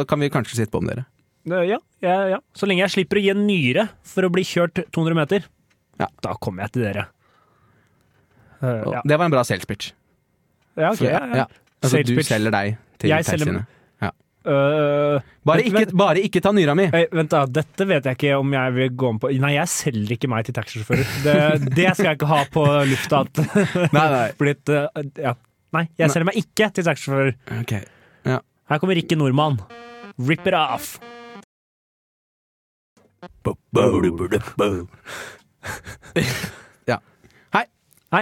kan vi kanskje sitte på med dere.
Eh, Ja, ja, ja. Så lenge jeg slipper å gi en nyre for å bli kjørt 200 meter,
Ja.
da kommer jeg til dere. Eh,
Og
ja.
Det var en bra sales pitch.
Ja, ok, ja, ja.
Altså,
Sales
du
pitch.
selger deg til
Jeg selger-
taxiene. Ja.
Eh,
Bare,
vent-
ikke, bare ikke ta nyra mi!
Eh, vent, da. Dette vet jeg ikke om jeg vil gå om på Nei, jeg selger ikke meg til taxisjåfører. Det, det skal jeg ikke ha på lufta. At
Nei, nei.
blitt, eh, ja. nei, jeg selger meg ikke til taxisjåfører.
Ok.
Her kommer Rikke Nordmann. Rip it off.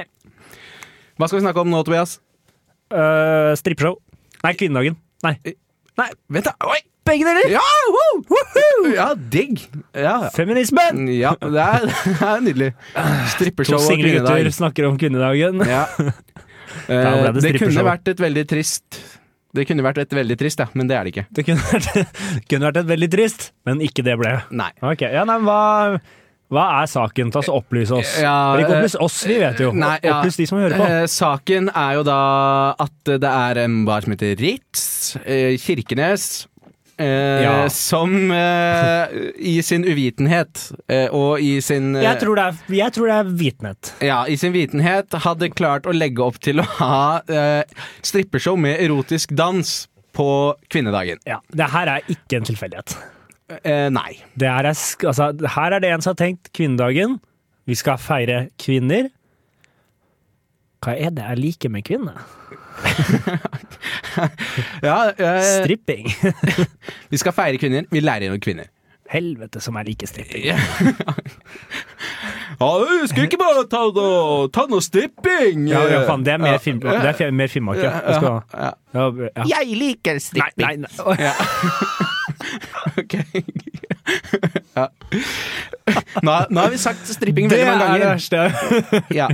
Hva skal vi snakke om nå, Tobias?
Uh, Strippeshow. Nei, kvinnedagen. Nei.
Nei, vent da. Oi! Begge deler! Ja, wow! Woohoo! ja digg. Ja,
Feminismen!
ja det, er, det er nydelig.
To
Strippershow og
single gutter
kvinnedag.
snakker om kvinnedagen.
Ja.
ble
Eh,
det
det kunne
strippershow.
vært et veldig trist Det kunne vært et veldig trist, ja, men det er det ikke.
Det kunne vært, kunne vært et veldig trist, men ikke det ble.
Nei.
Ok, ja, nei, men hva, Hva er saken? Ta så Opplys oss.
Ja, eh,
Eller ikke opplys oss, vi vet jo.
Nei, ja.
Opplys de som hører på.
Eh, saken er jo da at det er en bar som heter Ritz, eh, Kirkenes. Eh,
Ja.
Som eh, i sin uvitenhet eh, og i sin eh,
Jeg tror det er, jeg tror det er vitenhet.
ja, i sin vitenhet hadde klart å legge opp til å ha eh, strippeshow med erotisk dans på kvinnedagen.
Ja, det her er ikke en tilfeldighet.
Eh, nei.
Det her, er, sk- altså, her er det en som har tenkt kvinnedagen. Vi skal feire kvinner. Hva er det jeg liker med kvinner?
Ja, eh,
Stripping.
vi skal feire kvinner. Vi lærer gjennom kvinner.
Helvete som jeg liker stripping.
Ja, du skulle ikke bare ta noe, ta noe stripping! eh.
Ja, ja, faen, det er mer, film, det er fe- mer Finnmark, ja. Jeg skal,
Ja,
ja, ja.
Jeg liker
Nei, nei,
stripping.
nei. Oi,
ok. ja. Nå, nå har vi sagt stripping
Det
veldig
er
mange
det
ganger.
verste.
Ja.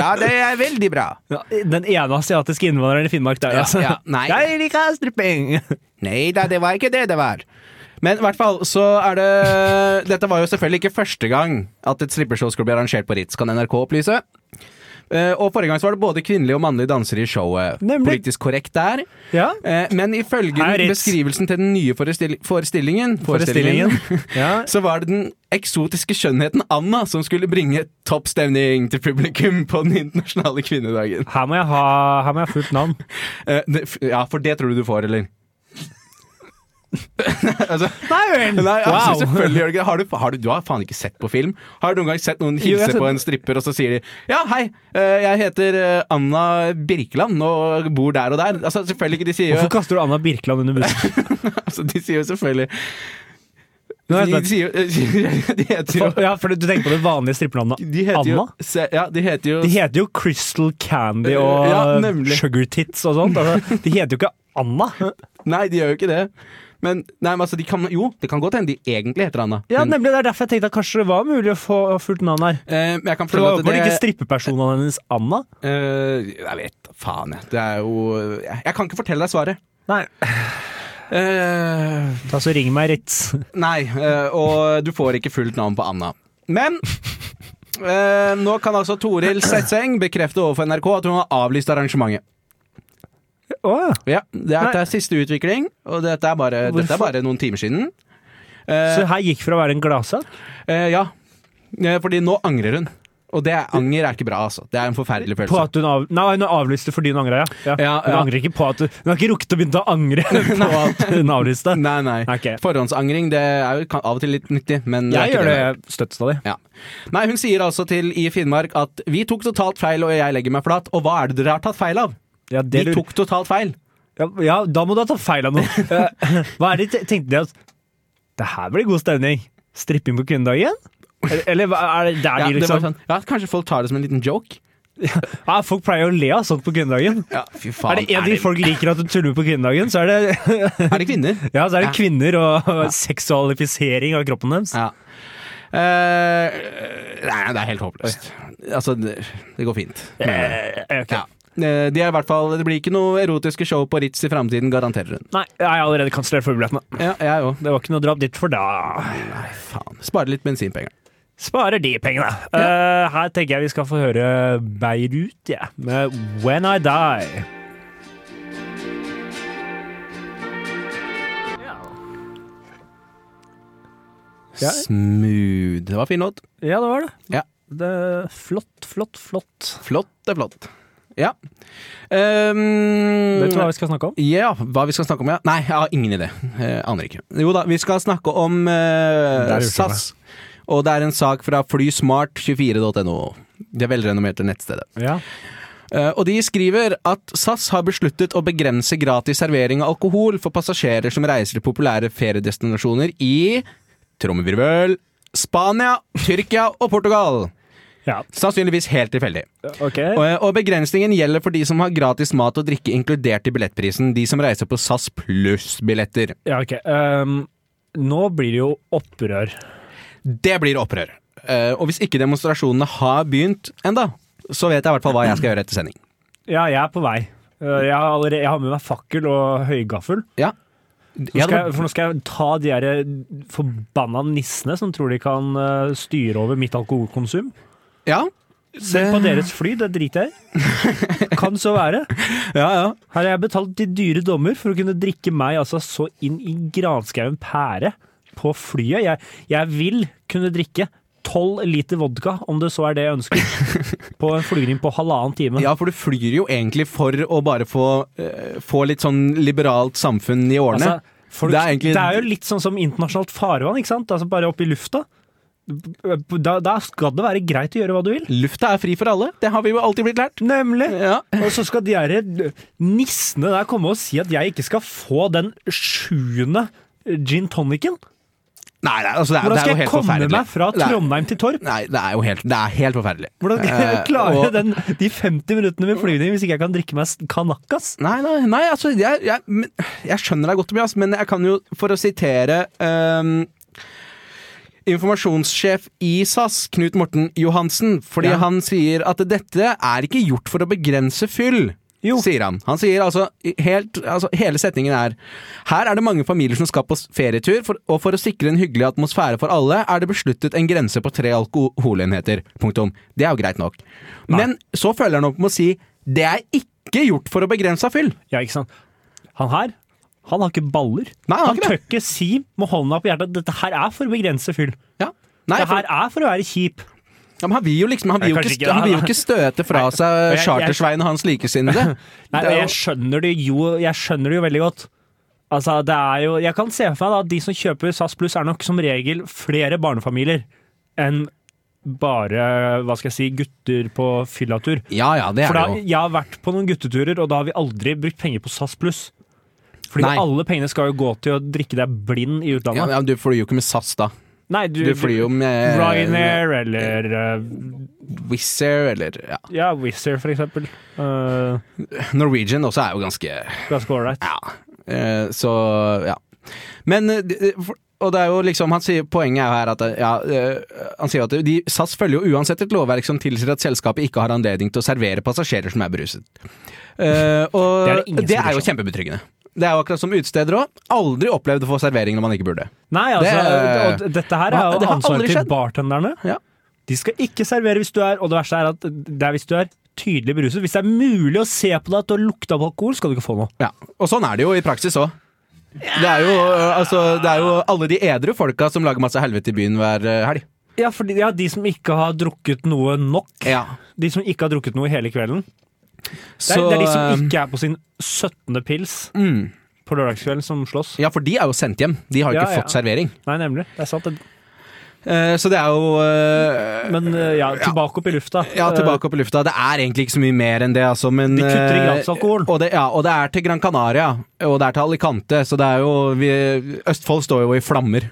ja, det er veldig bra.
Ja, Den ene asiatiske innvandreren i Finnmark der, altså.
ja, nei.
Jeg liker stripping!
Nei da, det var ikke det det var. Men i hvert fall så er det Dette var jo selvfølgelig ikke første gang at et strippeshow skulle bli arrangert på Ritz, kan NRK opplyse. Eh, Og forrige gang så var det både kvinnelige og mannlige dansere i showet.
Nemlig.
Politisk korrekt der.
Ja.
Eh, Men ifølge
Hei, Ritz.
beskrivelsen til den nye forestil forestillingen,
Forestillingen. Ja.
så var det den eksotiske skjønnheten Anna som skulle bringe topp stemning til publikum på den internasjonale kvinnedagen.
Her må jeg ha her må jeg ha fullt navn.
Eh, det- f- Ja, for det tror du du får, eller? altså,
Nei vel!
Nei, altså,
Wow.
selvfølgelig gjør det ikke det. Har du, har du, du har faen ikke sett på film? Har du noen gang sett noen
Jo, jeg
hilse
har
på en stripper, og så sier de Ja, hei, eh, jeg heter eh, Anna Birkeland og bor der og der. Altså, selvfølgelig ikke. De sier jo,
Hvorfor kaster du Anna Birkeland under bussen?
altså, de sier jo selvfølgelig
Nå er jeg
De,
spent.
sier jo De heter jo
For, ja, for du tenker på det vanlige strippenavnet
de heter jo,
Anna?
se, ja, de heter jo
De heter jo Crystal Candy og
Ja,
eh,
nemlig.
Sugar Tits og sånt. Altså, de heter jo ikke Anna.
Nei, de gjør jo ikke det. Men, nei, men altså, de kan, jo, det kan godt hende de egentlig heter Anna.
Ja,
men,
nemlig. Det er derfor jeg tenkte at kanskje det var mulig å få fullt navn her.
eh, men jeg kan
For det
føle
var
at
åpenbart
det
ikke strippepersonene hennes Anna.
Eh, Jeg vet da faen, jeg. Det er jo Jeg, jeg kan ikke fortelle deg svaret.
Nei.
Eh,
Da så ring meg rett.
Nei, eh, og du får ikke fullt navn på Anna. Men eh, nå kan altså Toril Setseng bekrefte overfor NRK at hun har avlyst arrangementet.
Åh,
Ja, Dette
Nei.
er siste utvikling, og dette er bare, dette
Hvorfor?
er bare noen timer siden. Eh,
så her gikk fra å være en gladsak
eh, ja, Eh, fordi nå angrer hun. Og det anger er ikke bra, altså. Det er en forferdelig
på
følelse.
at hun av, Nei, hun avlyste fordi hun angra, ja. ja.
Ja,
Hun
ja.
angrer ikke på at hun, hun har ikke rukket å begynne å angre på at hun avlyste.
Nei, nei.
Ok.
Forhåndsangring det er jo kan- av og til litt nyttig, men
Jeg
det er ikke
gjør det støtt stadig.
Ja. Nei, hun sier altså til I Finnmark at vi tok totalt feil, og jeg legger meg flat. Og hva er det dere har tatt feil av?
Ja, det
de
lurer-
tok totalt feil.
Ja, ja, da må du ha tatt feil av noe. Eh, Hva er det de te- tenkte de at Det her blir god stemning. Stripping på kvinnedagen? Eller, eller hva er det der
Ja,
de
det var
liksom
sånn, ja, kanskje folk tar det som en liten joke?
ja, Folk pleier å le av sånt på kvinnedagen.
Ja, fy
Er
faen.
det en ting folk liker at du tuller med på kvinnedagen, så er det,
er det kvinner?
ja, så er det
Ja.
kvinner og og seksualifisering av kroppen deres.
Ja. Eh, nei, det er helt håpløst. Altså, det, det går fint.
Eh, ok.
Ja. Eh, De er i hvert fall, det blir ikke noe erotiske show på Ritz i framtiden, garanterer hun.
Nei, jeg har allerede kansellert forbillettene.
Ja, jeg òg.
Det var ikke noe å dra opp dit for da.
Faen. Spare litt bensinpenger.
Sparer de pengene. Eh, her tenker jeg vi skal få høre Beirut, jeg, med When I Die. Ja.
Smooth. Det var fin låt.
Ja, det var det.
Ja.
det flott, flott, flott.
Flott er flott. Ja. Um, Mm.
Vet du hva vi skal snakke om?
Ja, hva vi skal snakke om, ja. Nei, jeg har ingen idé. Eh, aner ikke. Jo da, vi skal snakke om eh,
Der ute,
SAS. Og det er en sak fra flysmart24.no. Det velrenommerte nettstedet.
Ja.
Eh, og de skriver at SAS har besluttet å begrense gratis servering av alkohol for passasjerer som reiser til populære feriedestinasjoner i trommevirvel Spania, Tyrkia og Portugal.
ja.
Sannsynligvis helt tilfeldig.
Ok.
Og, eh, og begrensningen gjelder for de som har gratis mat og drikke inkludert i billettprisen. De som reiser på SAS pluss-billetter.
Ja, ok. Ehm, nå blir det jo opprør.
Det blir opprør. Eh, og hvis ikke demonstrasjonene har begynt enda, så vet jeg i hvert fall hva jeg skal gjøre etter sending.
Ja, jeg er på vei. Eh, Jeg har, allerede, jeg har med meg fakkel og høygaffel.
Ja.
Nå
Ja,
skal
det
jeg, for nå skal jeg ta de der forbanna nissene som tror de kan eh, styre over mitt alkoholkonsum.
Ja.
Selv på deres fly, det driter jeg i. Kan så være.
Ja, ja.
Her har jeg betalt de dyre dommer for å kunne drikke meg altså så inn i granskauen pære på flyet. Jeg, jeg vil kunne drikke tolv liter vodka, om det så er det jeg ønsker, på en flygning på halvannen time.
Ja, for du flyr jo egentlig for å bare få, eh, få litt sånn liberalt samfunn i årene.
Altså, folk,
Det er egentlig-
jo litt sånn som internasjonalt farvann, ikke sant? Altså bare opp i lufta. Da, da skal det være greit å gjøre hva du vil.
Lufta er fri for alle, det har vi jo alltid blitt lært.
Nemlig!
Ja.
Og så skal de her nissene der komme og si at jeg ikke skal få den sjuende gin tonicen.
Nei, nei, altså det er,
Hvordan
det er
skal
jo
jeg
helt
komme
forferdelig.
meg fra
Det er-
Trondheim til Torp?
Nei, det er jo helt, det er helt forferdelig.
Hvordan skal jeg
Eh,
klare
og-
den, de 50 minuttene med flyvning hvis ikke jeg kan drikke meg kanakas?
Nei, nei, nei altså, jeg, jeg, men- jeg skjønner deg godt, Tobias, men jeg kan jo, for å sitere ehm, Informasjonssjef i SAS, Knut Morten Johansen, fordi
Ja.
han sier at dette er ikke gjort for å begrense fyll.
Jo.
Sier han. Han sier altså, helt, altså Hele setningen er Her er det mange familier som skal på s- ferietur, for, og for å sikre en hyggelig atmosfære for alle, er det besluttet en grense på tre alkoholenheter. Punktum. Det er jo greit nok. Men så følger han opp med å si det er ikke gjort for å begrense fyll.
Ja, ikke sant? Han her, han har ikke baller.
Nei, han har ikke
tør
det.
ikke si med hånda på hjertet at dette her er for å begrense fyll.
Ja. Nei,
Det
for,
her er for å være kjip.
ja, men han vil jo liksom Han vil jo
Nei,
ikke,
kanskje ikke,
stø- han
nei,
vil jo
nei.
ikke støte fra
og
seg
jeg-
Chartersveien og hans likesinnede. Det
Nei,
er
og
jo-
jeg skjønner det jo, jeg skjønner det jo veldig godt. Altså, det er jo, jeg kan se for meg da, at de som kjøper SAS Pluss er nok som regel flere barnefamilier enn bare, hva skal jeg si, gutter på fyllatur.
Ja ja, det er
For da,
det jo.
jeg har vært på noen gutteturer, og da har vi aldri brukt penger på SAS Pluss. Fordi
Nei.
alle pengene skal jo gå til å drikke deg blind i
Ja,
utlandet.
men du flyr jo ikke med SAS, da.
Nei, du,
Du flyr jo med eh,
Ryanair eller
Wizz Air eller ja.
eh, ja, Wizz Air, for eksempel. Eh,
Norwegian også er jo ganske
ganske ålreit.
Ja. Eh, Så ja. Men eh, det- for- og det er jo liksom, han sier, Poenget er jo her at eh, ja, eh, han sier at de, SAS følger jo uansett et lovverk som tilsier at selskapet ikke har anledning til å servere passasjerer som er beruset. Eh, og
Det er det ingen som
det er
bryr
jo
seg
kjempebetryggende. Det er jo akkurat som utesteder òg. Aldri opplevd å få servering når man ikke burde.
Nei, altså,
Det-
og dette her
Hva?
er
Det
jo
har aldri
ansvaret til
skjedd.
bartenderne.
Ja.
De skal ikke servere hvis du er Og det verste er at det er hvis du er tydelig beruset. Hvis det er mulig å se på deg at du har lukta på alkohol, skal du ikke få noe.
Ja, og sånn er det jo i praksis òg. Det er, jo, eh, altså, det er jo alle de edru folka som lager masse helvete i byen hver eh, helg.
Ja, fordi, ja, de som ikke har drukket noe nok.
Ja.
De som ikke har drukket noe hele kvelden. Det
Så,
er, det er de som
eh,
ikke er på sin 17. pils
mm.
på lørdagskvelden som slåss.
Ja, for de er jo sendt hjem. De har jo
Ja,
ikke
ja.
fått servering.
Nei, nemlig. Det er sant. det-
Eh, så det er jo eh,
Men eh, ja, tilbake opp i lufta.
Ja, tilbake opp i lufta. Det er egentlig ikke så mye mer enn det, altså, men
eh, De kutter i
eh,
gratisalkohol.
Og det, ja, og det er til Gran Canaria, og det er til Alicante, så det er jo vi, Østfold står jo i flammer.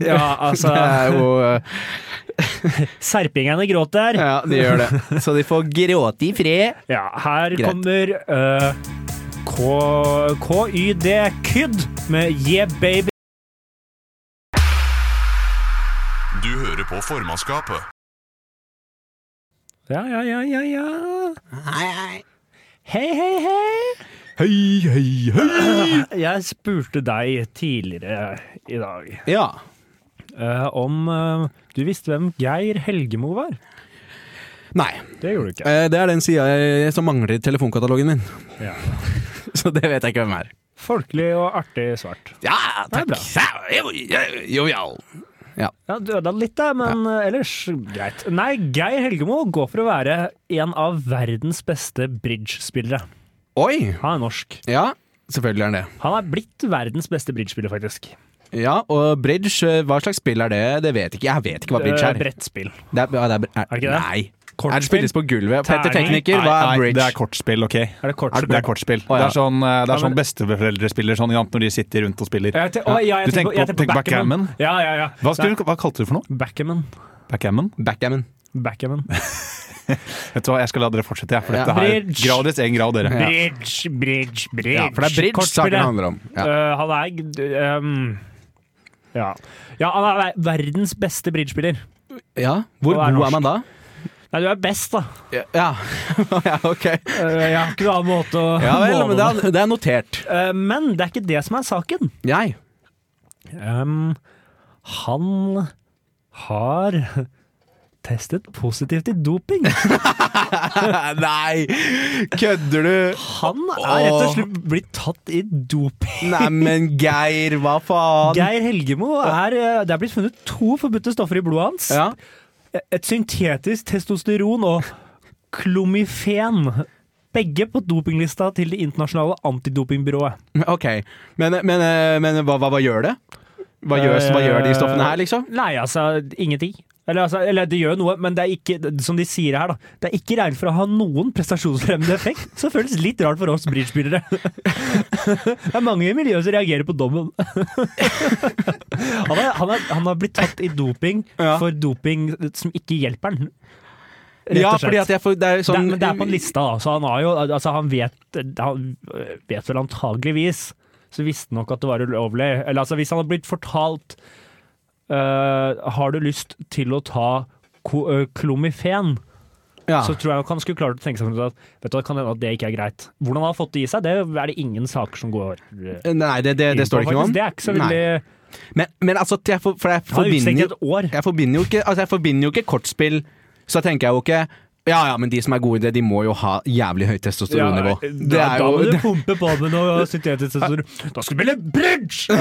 Eh, Ja, altså.
Det er jo eh,
Serpingene gråter.
Ja, de gjør det. Så de får gråte i fred.
Ja, her
Greit.
kommer eh, K- KYD Kyd med Yeah Baby.
Du hører på formannskapet.
Ja, ja, ja, ja, ja. Hei, hei, hei.
Hei, hei, hei!
Jeg spurte deg tidligere i dag
Ja.
eh, om eh, du visste hvem Geir Helgemo var.
Nei.
Det gjorde du ikke.
eh, Det er den sida jeg- som mangler i telefonkatalogen min,
Ja.
så det vet jeg ikke hvem er.
Folkelig og artig svart.
Ja,
Det er bra.
takk. Jovial.
Ja, Døde han litt, da, men eh, ellers greit. Nei, Geir Helgemo går for å være en av verdens beste bridgespillere.
Oi!
Han er norsk.
Ja, selvfølgelig er den det.
Han er blitt verdens beste bridgespiller, faktisk.
Ja, og bridge, eh, hva slags spill er det? Det vet ikke jeg. vet ikke hva bridge
Eh,
er.
Brettspill.
Det er, ja, det er, er,
det ikke det?
Nei.
Kortspill?
Er det spilles på gulvet? Petter
Terning?
Tekniker, hva er bridge?
det er kortspill, OK?
Er det
Er
kortspill?
det er kortspill.
Å, ja.
Det er sånn, eh, det er
Ja, men-
sånn besteforeldre spiller sånn jant når de sitter rundt og spiller.
Jeg te- å, ja, jeg
Du tenker
jeg
på- tenker backgammon?
Ja, ja, ja.
Hva, skulle, du- hva kalte du for noe?
Nei, Backgammon.
Backgammon?
Backgammon.
Backgammon.
Vet du hva, Jeg skal la dere fortsette, jeg. For
Ja.
dette her
Bridge.
Gradvis én grad, dere.
Bridge, bridge, bridge.
Ja, for det er bridge saken
Kortspillet.
handler om. Ja.
Eh, han er g- ehm, ja. ja, han er ver- verdens beste bridgespiller.
ja. Hvor
Og er
god
norsk.
er man da?
Nei, du er best, da.
Ja, ja. ja ok.
Eh, Jeg har ikke noen annen måte å
Ja vel,
måle
men det er, det er notert.
Eh, Men det er ikke det som er saken.
Jeg.
Ehm, han har testet positivt i doping.
Nei, kødder du?
Han er rett og slett blitt tatt i doping.
Neimen, Geir, hva faen?
Geir Helgemo er eh, Det er blitt funnet to forbudte stoffer i blodet hans.
Ja.
Et syntetisk testosteron og klomifen. Begge på dopinglista til Det internasjonale antidopingbyrået.
Ok, men, men, men hva, hva, hva gjør det? Hva gjør, hva gjør de stoffene her, liksom?
Nei, altså, ingenting. Eller, altså, eller det gjør noe, men det er ikke, som de sier her, da. Det er ikke regnet for å ha noen prestasjonsfremmende effekt, så det føles litt rart for oss bridgespillere. Det er mange i miljøet som reagerer på dommen. Han har, han har, han har blitt tatt i doping
Ja.
for doping som ikke hjelper han. Rett
Ja,
og slett.
fordi at jeg får, det er
Det er,
sånn
men det er på en liste, da. Så han har jo Altså, han vet Han vet vel antageligvis Så visste han nok at det var ulovlig. Eller altså, hvis han hadde blitt fortalt eh, Har du lyst til å ta ko ø, klomifen?
Ja.
Så tror jeg nok han skulle klart å tenke seg for at Vet du, hva, det kan hende at det ikke er greit. Hvordan han har fått det i seg, det er det ingen saker som går eh,
Nei, det, det, det
inn
står
på,
det ikke noe
faktisk.
om.
Det er ikke så veldig
Nei. Men, men altså, jeg, for, for jeg,
Han er
forbinder
utestengt i
jo,
et år.
jeg forbinder jo ikke altså, Jeg forbinder jo ikke kortspill, så tenker jeg jo ikke ja, ja, men de som er gode i det, de må jo ha jævlig høyt testosteronnivå.
Ja, eh,
det
da,
er
da
jo
må du
det,
pumpe på med noe syntetisk testosteron. Da skal du spille bridge!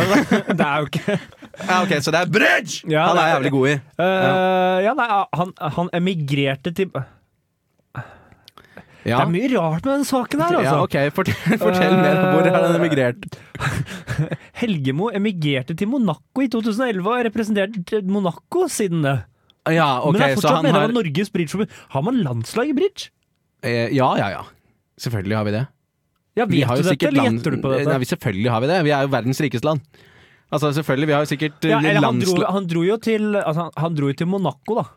Det er jo ikke
ja, Ok, så det er bridge!
Ja,
Han er
det er-
jævlig god i.
Eh, ja, nei, ah, han, han emigrerte til Det
Ja,
er mye rart med den saken her, altså.
ja ok, fortell, fortell mer. Hvor har han emigrert?
Helgemo emigrerte til Monaco i 2011 og har representert Monaco siden det.
Ja, ok,
Men er
så
fortsatt
han
medlem av
har
Norges bridgeforbund. Har man landslag i bridge?
Eh, Ja, ja, ja. Selvfølgelig har vi det.
Ja,
Vi
vet
har jo
du dette,
sikkert
eller
land...
gjetter du på dette?
Nei, vi selvfølgelig har vi det. Vi er jo verdens rikeste land. Altså, selvfølgelig, vi har jo sikkert eh,
ja, eller han, dro,
landslag...
han dro jo til altså, han- Han dro jo til Monaco, da.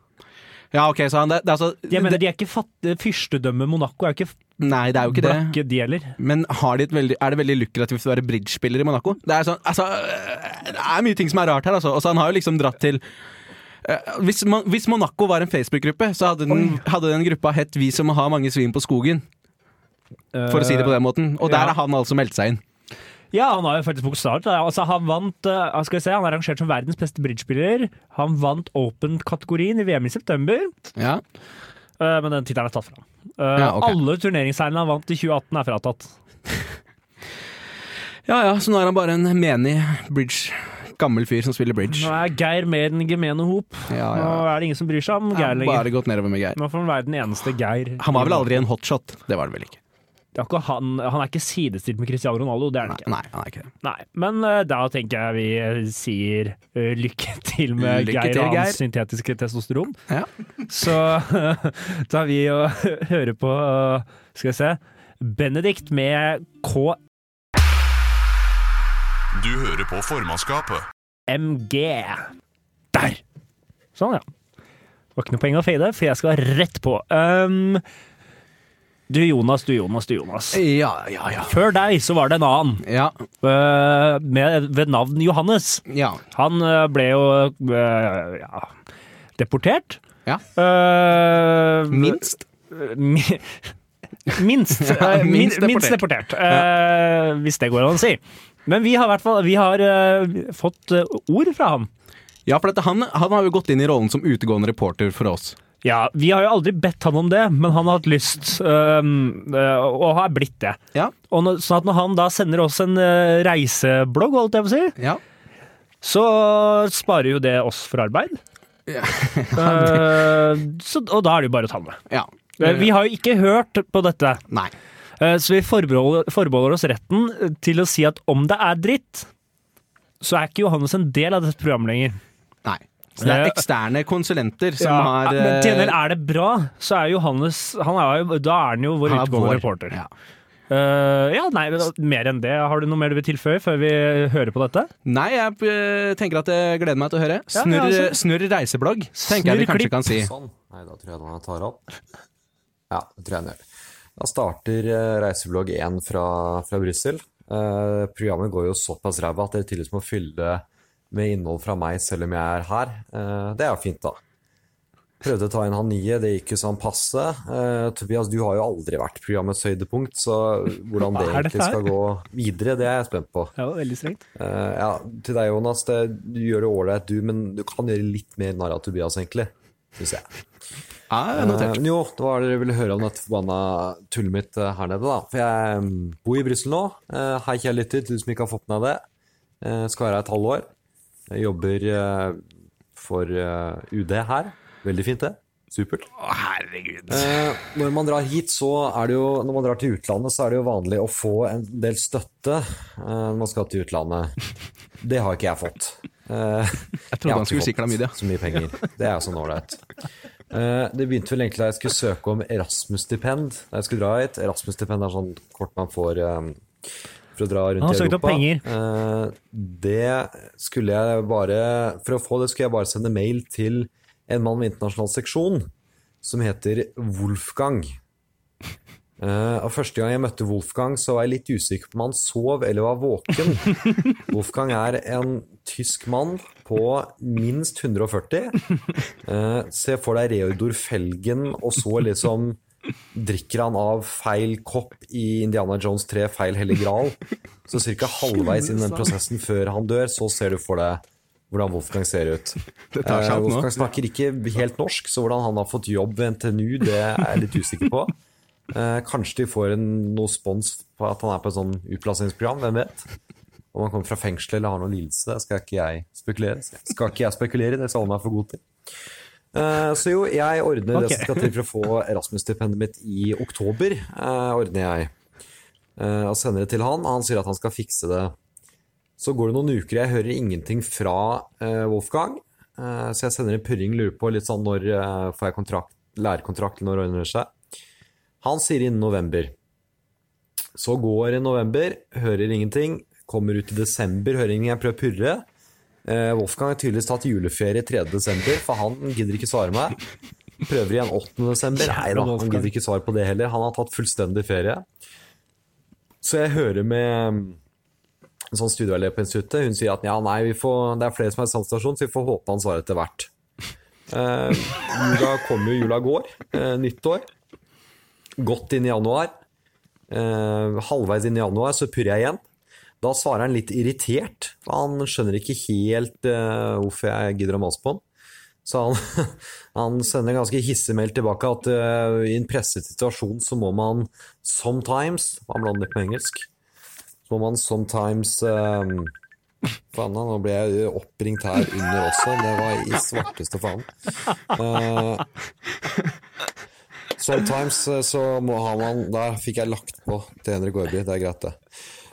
Ja, ok, så han det, det er altså
Jeg mener,
det,
de er ikke fatt, Fyrstedømmet Monaco er jo ikke,
Nei, det er jo ikke det.
blakke, de heller.
Men har de et veldig, er det veldig lukrativt å være bridge-spiller i Monaco? Det er sånn, altså øh, Det er mye ting som er rart her, altså. Altså, han har jo liksom dratt til øh, hvis, man, hvis Monaco var en Facebook-gruppe, så hadde den, hadde den gruppa hett 'Vi som har mange svin på skogen', for å si det på den måten. Og der
Eh, ja.
har han altså meldt seg inn.
Ja, han har jo faktisk bokstavelig talt altså, Han vant, eh, skal vi se, han er rangert som verdens beste bridgespiller. Han vant open-kategorien i VM i september,
Ja.
eh, men den tittelen er tatt fra ham. Eh,
Ja, ok.
Alle turneringsseilene han vant i 2018, er fratatt.
ja ja, så nå er han bare en menig bridge. Gammel fyr som spiller bridge.
Nå er Geir med i den gemene hop.
Ja,
Nå
ja.
er det ingen som bryr seg om
Jeg har
Geir lenger.
Bare gått nedover med Geir.
Nå får han være den eneste Geir.
Han var vel aldri en hotshot? Det var det vel ikke?
Det er ikke han, han er ikke sidestilt med Cristiano Ronaldo, det er han
Nei,
ikke.
nei han er ikke det.
Nei, Men eh, da tenker jeg vi sier eh, lykke til med
Lykke
Geir
til,
og hans
Geir.
syntetiske testosteron.
Ja.
Så tar vi og hører på eh, Skal vi se Benedikt med
Du hører på formannskapet.
KMG. Der! Sånn, ja. Det var ikke noe poeng å fade, for jeg skal rett på. Um, du Jonas, du Jonas, du Jonas.
Ja, ja, ja.
Før deg så var det en annen
Ja,
eh, med, ved navn Johannes.
ja.
Han eh, ble jo eh, ja, deportert.
Ja.
Eh,
Minst.
mi- Minst,
Ja,
eh, min,
minst
minst deportert, eh, hvis det går an å si. Men vi har, i hvert fall, vi har eh, fått eh, ord fra ham.
Ja, for dette, han, han har jo gått inn i rollen som utegående reporter for oss.
Ja, Vi har jo aldri bedt han om det, men han har hatt lyst, eh, eh, og har blitt det.
Ja,
Og når, sånn at når han da sender oss en eh, reiseblogg, holdt jeg på å si,
ja.
så sparer jo det oss for arbeid.
Ja.
Eh, så, og da er det jo bare å ta med.
ja.
Eh, Vi har jo ikke hørt på dette,
Nei.
eh, så vi forbeholder, forbeholder oss retten eh, til å si at om det er dritt, så er ikke Johannes en del av dette programmet lenger.
Nei. Så det er
Eh,
eksterne konsulenter som
Ja,
har
Men til en del
eh,
er det bra, så er Johannes han er jo, Da er han jo vår
han er
utgående
vår.
reporter.
Ja.
Eh, ja, nei, men da- mer enn det. Har du noe mer du vil tilføye før vi eh, hører på dette?
Nei, jeg eh, tenker at jeg gleder meg til å høre.
Ja,
Snurr, eh,
ja, altså.
snurr reiseblogg, tenker jeg vi
Snurr klipp.
kanskje kan si.
Sånn. Nei, da tror jeg den tar opp. Ja, det tror jeg den gjør. Da starter eh, reiseblogg 1 fra, fra Brussel. Eh, programmet går jo såpass ræva at dere tydeligvis må fylle det med innhold fra meg selv om jeg er her. Eh, det er jo fint, da. Prøvde å ta inn han nye, det gikk jo sånn passe. Eh, Tobias, du har jo aldri vært programmets høydepunkt, så hvordan
Hva
det
er dette
egentlig skal gå videre, det er jeg spent på.
Det var veldig strengt.
Eh, ja, til deg, Jonas. Det, du gjør det ålreit, du, men du kan gjøre litt mer narr av Tobias, egentlig. Synes jeg.
Ja, notert.
Eh, men jo, det var det dere ville høre om dette forbanna tullet mitt eh, her nede, da. For jeg mm, bor i Brussel nå. Eh, hei, kjære lytter, til du som ikke har fått med deg det. Eh, skal være her et halvår. Jeg jobber eh, for eh, UD her. Veldig fint, det. Supert. Eh, når man drar hit, så er det jo Når man drar til utlandet, så er det jo vanlig å få en del støtte eh, når man skal til utlandet. Det har ikke jeg fått. Eh, jeg
trodde
har
han
ikke
skulle si
fått
klamydia.
Så mye penger. Det er jo sånn ålreit. Eh, det begynte vel egentlig da jeg skulle søke om Erasmus-stipend da jeg skulle dra hit. Erasmus-stipend er sånn kort man får eh, for å dra rundt
Han
i
søkte opp
Europa.
penger.
Eh, det skulle jeg bare For å få det skulle jeg bare sende mail til en mann med internasjonal seksjon som heter Wolfgang. Eh, og Første gang jeg møtte Wolfgang, så var jeg litt usikker på om han sov eller var våken. Wolfgang er en tysk mann på minst 140. Eh, se for deg Reodor Felgen, og så liksom drikker han av feil kopp i Indiana Jones 3, feil hellig gral. Så ca. halvveis i den prosessen før han dør, så ser du for deg hvordan Wolfgang ser ut.
Det tar seg
Eh,
opp nå.
Wolfgang snakker ikke helt norsk, så hvordan han har fått jobb ved NTNU, det er jeg litt usikker på. Eh, kanskje de får en, noe spons på at han er på et sånn utplasseringsprogram, hvem vet? Om han kommer fra fengsel eller har noen lidelse, det skal ikke jeg spekulere. Skal ikke jeg spekulere, det skal jeg holde meg for god til. Eh, Så jo, jeg ordner
Ok.
det som skal til for å få Erasmus-stipendet mitt i oktober. eh, ordner jeg Eh, og sender det til han. Han sier at han skal fikse det. Så går det noen uker, jeg hører ingenting fra eh, Wolfgang. Eh, så jeg sender en purring, lurer på litt sånn når eh, får jeg kontrakt, lærekontrakt, eller når ordner det seg. Han sier innen november. Så går november, hører ingenting. Kommer ut i desember, hører ingenting. Jeg prøver å purre. Eh, Wolfgang har tydeligvis tatt juleferie 3. desember, for han gidder ikke svare meg. Prøver igjen 8. desember. Nei da, han gidder ikke svare på det heller. Han har tatt fullstendig ferie. Så jeg hører med um, en sånn studieveileder på instituttet. Hun sier at ja, nei, vi får, det er flere som er i samme stasjon, så vi får håpe han svarer etter hvert. Eh, jula kommer jo, jula går. eh, nyttår. Godt inn i januar. Eh, halvveis inn i januar så purrer jeg igjen. Da svarer han litt irritert. Han skjønner ikke helt eh, hvorfor jeg gidder å mase på han. Så han, han sender en ganske hissig mail tilbake at eh, i en presset situasjon så må man sometimes Han blander litt på engelsk. Så må man sometimes eh, Faen, nå ble jeg oppringt her under også. Det var i svarteste faen. Eh, sometimes eh, så må, har man Der fikk jeg lagt på til Henrik Gaarby. Det er greit, det.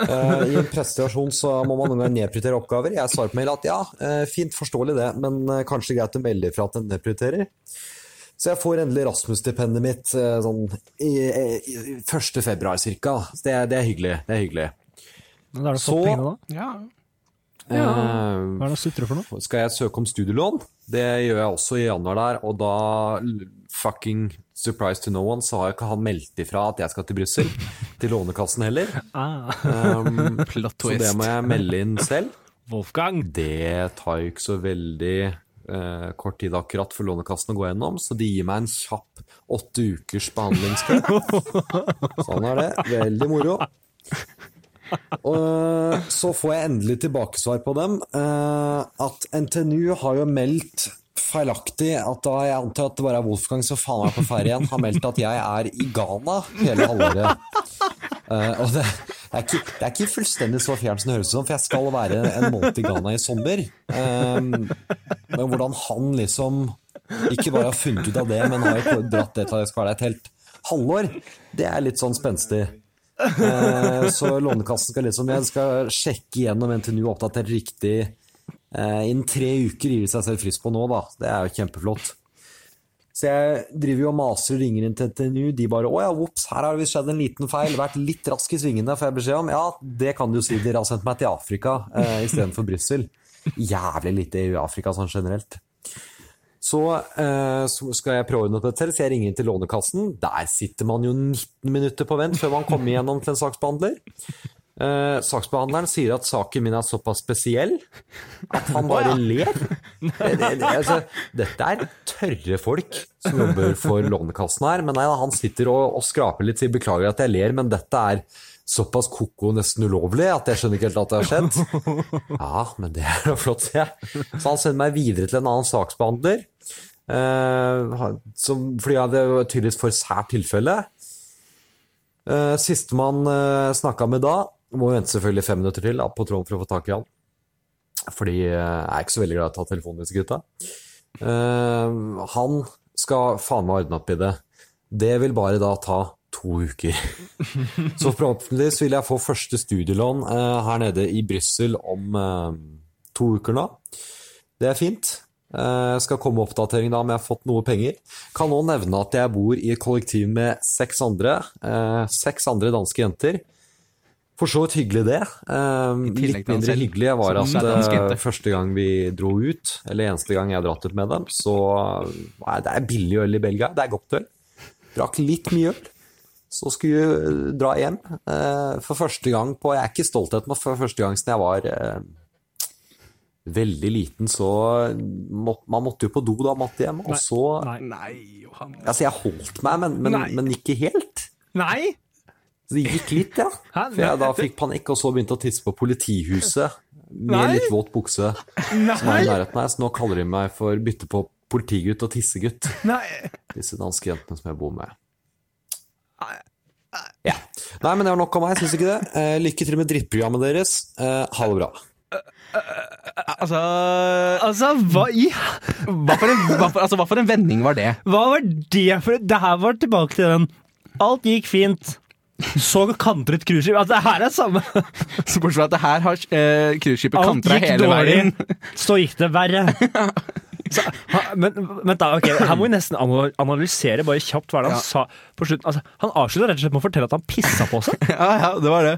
Eh, I en pressesituasjon så må man noen ganger nedprioritere oppgaver. Jeg svarer på mail at ja, eh, fint, forståelig det, men eh, kanskje greit å melde ifra at en nedprioriterer. Så jeg får endelig Rasmus-stipendet mitt eh, sånn i, i, i 1. februar cirka. Så Det, er- det er hyggelig. Det er hyggelig.
Men da har du
Så-
fått pengene, da?
Ja.
Eh,
Hva er det han sutrer for noe?
skal jeg søke om studielån. Det gjør jeg også i januar der, og da, l- fucking surprise to no one, så har jeg ikke han meldt ifra at jeg skal til Brussel, til Lånekassen heller. Um,
Plot
så
twist.
det må jeg melde inn selv.
Wolfgang!
Det tar jo ikke så veldig eh, kort tid akkurat for Lånekassen å gå gjennom, så de gir meg en kjapp åtte ukers behandlingskø. Sånn er det. Veldig moro. Og eh, så får jeg endelig tilbakesvar på dem. eh, at NTNU har jo meldt feilaktig at da jeg antar at det bare er Wolfgang som faen meg er på ferie igjen, har meldt at jeg er i Ghana hele halvåret. Eh, og det, det, er ikke, det er ikke fullstendig så fjernt som det høres ut som, for jeg skal være en måned i Ghana i sommer. Um, men hvordan han liksom ikke bare har funnet ut av det, men har ikke dratt det til at jeg skal være der et helt halvår, det er litt sånn spenstig. Eh, så Lånekassen skal liksom jeg skal sjekke igjennom NTNU og oppdatere riktig. Eh, Innen tre uker gir de seg selv frist på nå, da. Det er jo kjempeflott. Så jeg driver jo og maser og ringer inn til NTNU. De bare 'Å ja, ops, her har det visst skjedd en liten feil'. Vært litt rask i svingene, får jeg beskjed om. Ja, det kan du jo si. Dere har sendt meg til Afrika eh, istedenfor Brussel. Jævlig lite EU-Afrika sånn generelt. Så, eh, så skal jeg prøve dette selv, så jeg ringer inn til Lånekassen. Der sitter man jo 19 minutter på vent før man kommer gjennom til en saksbehandler. Eh, saksbehandleren sier at saken min er såpass spesiell at han bare ler. Det, det, det, altså, dette er tørre folk som jobber for Lånekassen her. Men nei, da, han sitter og, og skraper litt sier 'beklager at jeg ler', men dette er såpass koko nesten ulovlig at jeg skjønner ikke helt at det har skjedd. Ja, men det er jo flott, sier jeg. Så han sender meg videre til en annen saksbehandler. eh, han- som, fordi ja, det var tydeligvis for sært tilfelle. Uh, Sistemann uh, snakka med da, må vente selvfølgelig fem minutter til da, på Trond for å få tak i han. Fordi eh, jeg er ikke så veldig glad i å ta telefonen disse gutta. Eh, han skal faen meg ordne opp i det. Det vil bare da ta to uker. så forhåpentligvis vil jeg få første studielån eh, her nede i Brussel om eh, to uker nå. Det er fint. Eh, skal komme oppdatering da om jeg har fått noe penger. Kan nå nevne at jeg bor i et kollektiv med seks andre. eh, seks andre danske jenter. For så vidt hyggelig det. Eh,
tillegg
litt
til han
mindre
selv,
hyggelig var
som er
at
dansk
eh,
jente.
første gang vi dro ut, eller eneste gang jeg har dratt ut med dem, så eh, nei, det er billig øl i Belgia. Det er godt øl. Drakk litt mye øl. Så skulle vi dra hjem eh, for første gang på Jeg er ikke stolt etter meg, for første gang siden jeg var eh, veldig liten, så må, Man måtte jo på do da, måtte hjem. Og så
Nei.
Altså, jeg holdt meg, men, men,
Nei.
men ikke helt.
Nei!
Så det gikk litt, ja.
Hæ?
For jeg da fikk panikk, og så begynte å tisse på politihuset med
Nei.
litt våt bukse. Som er i nærheten her, så nå kaller de meg for bytte på politigutt og tissegutt.
Nei!
Disse danske jentene som jeg bor med. Ja. Nei, men det var nok av meg, syns ikke det. Eh, lykke til med drittprogrammet deres. Eh, ha det bra.
Altså,
Altså, hva i
hva for, en, hva, for, altså, hva for en vending var det?
Hva var det for Det her var tilbake til den. Alt gikk fint. Så kantret cruiseskip. Altså, det her er samme.
Så bortsett fra at det her har eh, cruiseskipet
Alt
kantra
gikk
hele
dårlig,
veien.
så gikk det verre. Så, ha- men vent da, ok, Her må vi nesten ana- analysere bare kjapt hva det er han sa på slutten. Altså, han avslutta rett og slett med å fortelle at han pissa på seg.
Ja, ja, det var det.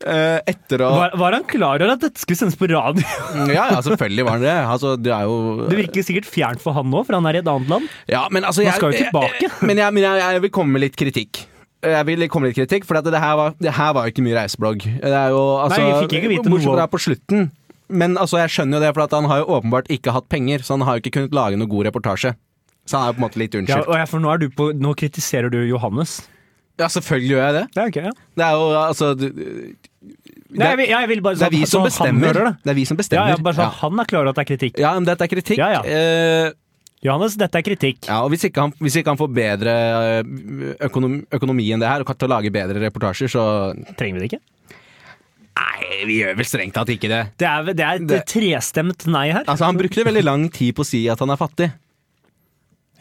Eh, etter å
Var, var han klar over at dette skulle sendes på radio?
Ja, ja, selvfølgelig var det det. Altså, det er jo
Det virker sikkert fjernt for han nå, for han er i et annet land.
Ja, men altså
Man
jeg-
skal jo tilbake.
Men jeg, men jeg, jeg vil komme med litt kritikk. Jeg vil komme med litt kritikk, for at det, her var, det her var jo ikke mye reiseblogg. Det er jo, altså,
Nei, vi fikk ikke vite
bortsett
noe.
fra på slutten. Men altså, jeg skjønner jo det, for at han har jo åpenbart ikke hatt penger, så han har jo ikke kunnet lage noe god reportasje. Så han er jo på en måte litt
Ja,
unnskyldt.
og jeg, for nå, er du på, nå kritiserer du Johannes.
Ja, selvfølgelig gjør jeg det.
Det er ok, ja.
Det er jo altså du-
Nei, jeg, vil- jeg vil bare
Det er vi som
så Sånn- han
bestemmer.
hører det.
Det er vi som
Ja,
bestemmer.
ja, bare sånn,
Ja.
Han er klar over at det er kritikk.
Ja, men dette er kritikk.
Ja, ja.
Eh,
Johannes, dette er kritikk.
Ja, og hvis ikke han, hvis ikke han får bedre eh, økonom, økonomi enn det her, og kan til å lage bedre reportasjer, så
Trenger vi det ikke?
Nei, vi gjør vel strengt tatt ikke det.
Det er, det er
Det-
et trestemt nei her.
Altså, han brukte veldig lang tid på å si at han er fattig.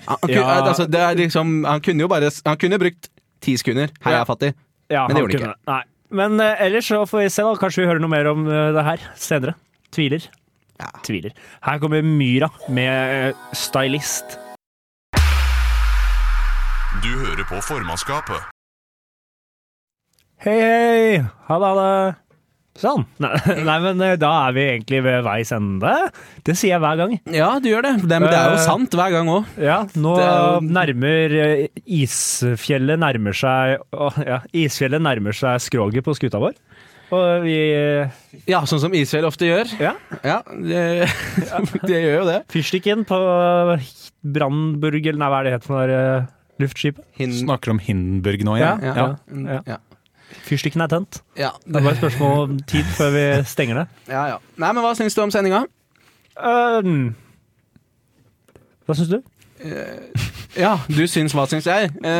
Han, han,
Ja.
kunne, altså, det er liksom, han kunne jo bare Han kunne brukt ti sekunder. Hei, jeg
Ja.
er fattig.
Ja,
Men det
han
gjorde det
kunne- Nei. Men eh, ellers så får vi se, da. Kanskje vi hører noe mer om eh, det her senere. Tviler. Tviler. Her kommer Myra med eh, Stylist.
Du hører på formannskapet.
Hei, hei! Ha det, ha det. Sånn. Nei, nei, men eh, da er vi egentlig ved veis ende. Det sier jeg hver gang.
Ja, du gjør det. det men det er jo
Eh.
sant hver gang òg.
Ja, nå
Det er jo-
nærmer eh, isfjellet nærmer seg åh, ja, Isfjellet nærmer seg skroget på skuta vår. Og vi eh,
Ja, sånn som Israel ofte gjør.
Ja.
Ja, det, det gjør jo det.
Fyrstikken på Brannburg, eller nei, hva er det het for noe der, eh, luftskipet?
Hin,
Snakker om Hindenburg nå
ja,
igjen?
ja,
ja. ja.
Fyrstikken er tent.
ja.
Det er bare et spørsmål om tid før vi stenger det.
ja, ja. Nei, men hva syns du om sendinga? Um,
Øhm, hva syns du?
Ja, du syns hva syns jeg?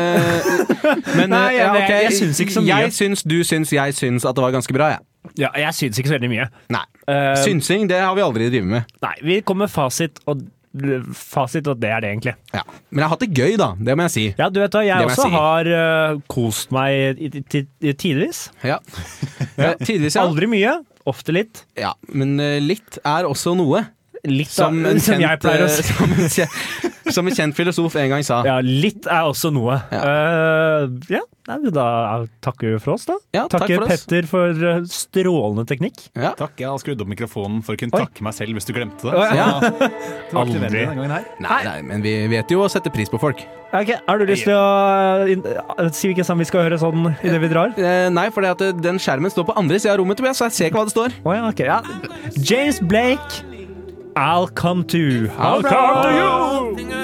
Eh, men,
Nei,
eh,
jeg-
ok,
jeg- jeg syns ikke så mye.
Jeg syns, du syns, jeg syns at det var ganske bra, jeg.
Ja, jeg syns ikke så veldig mye.
Nei.
Eh,
Synsing, det har vi aldri drevet med.
Nei, vi kommer med fasit, og fasit, og det er det, egentlig.
Ja. Men jeg har hatt det gøy, da. Det må jeg si.
Ja, du vet hva, jeg
Det må jeg
også
si.
har øh, kost meg i- i- ti- i- tidvis.
Ja. Eh, Ja, Tidvis, ja.
Aldri mye, ofte litt.
ja. Men eh, litt er også noe.
Litt
Som
av,
en
som
kjent,
jeg pleier å
eh,
si.
som en kjent, som en kjent filosof en gang sa.
Ja, litt er også noe.
Ja.
Eh, ja nei, men da takker vi for oss, da.
Ja, takk
takker
for oss.
Petter for eh, strålende teknikk.
Ja.
Takk, jeg har skrudd opp mikrofonen for å kunne
Oi.
takke meg selv hvis du glemte det.
Å,
ja.
Så, det var ikke nødvendig
Aldri.
denne gangen her.
Nei, nei, men vi vet jo å sette pris på folk.
Ok, Har du lyst til å eh, inn- eh, si hvilken sang vi skal høre sånn idet vi drar?
Eh, nei, for det at den skjermen står på andre sida av rommet, Tobias, så jeg ser ikke hva det står.
Å ja, ok. Ja. James Blake, I'll come to I'll come to you.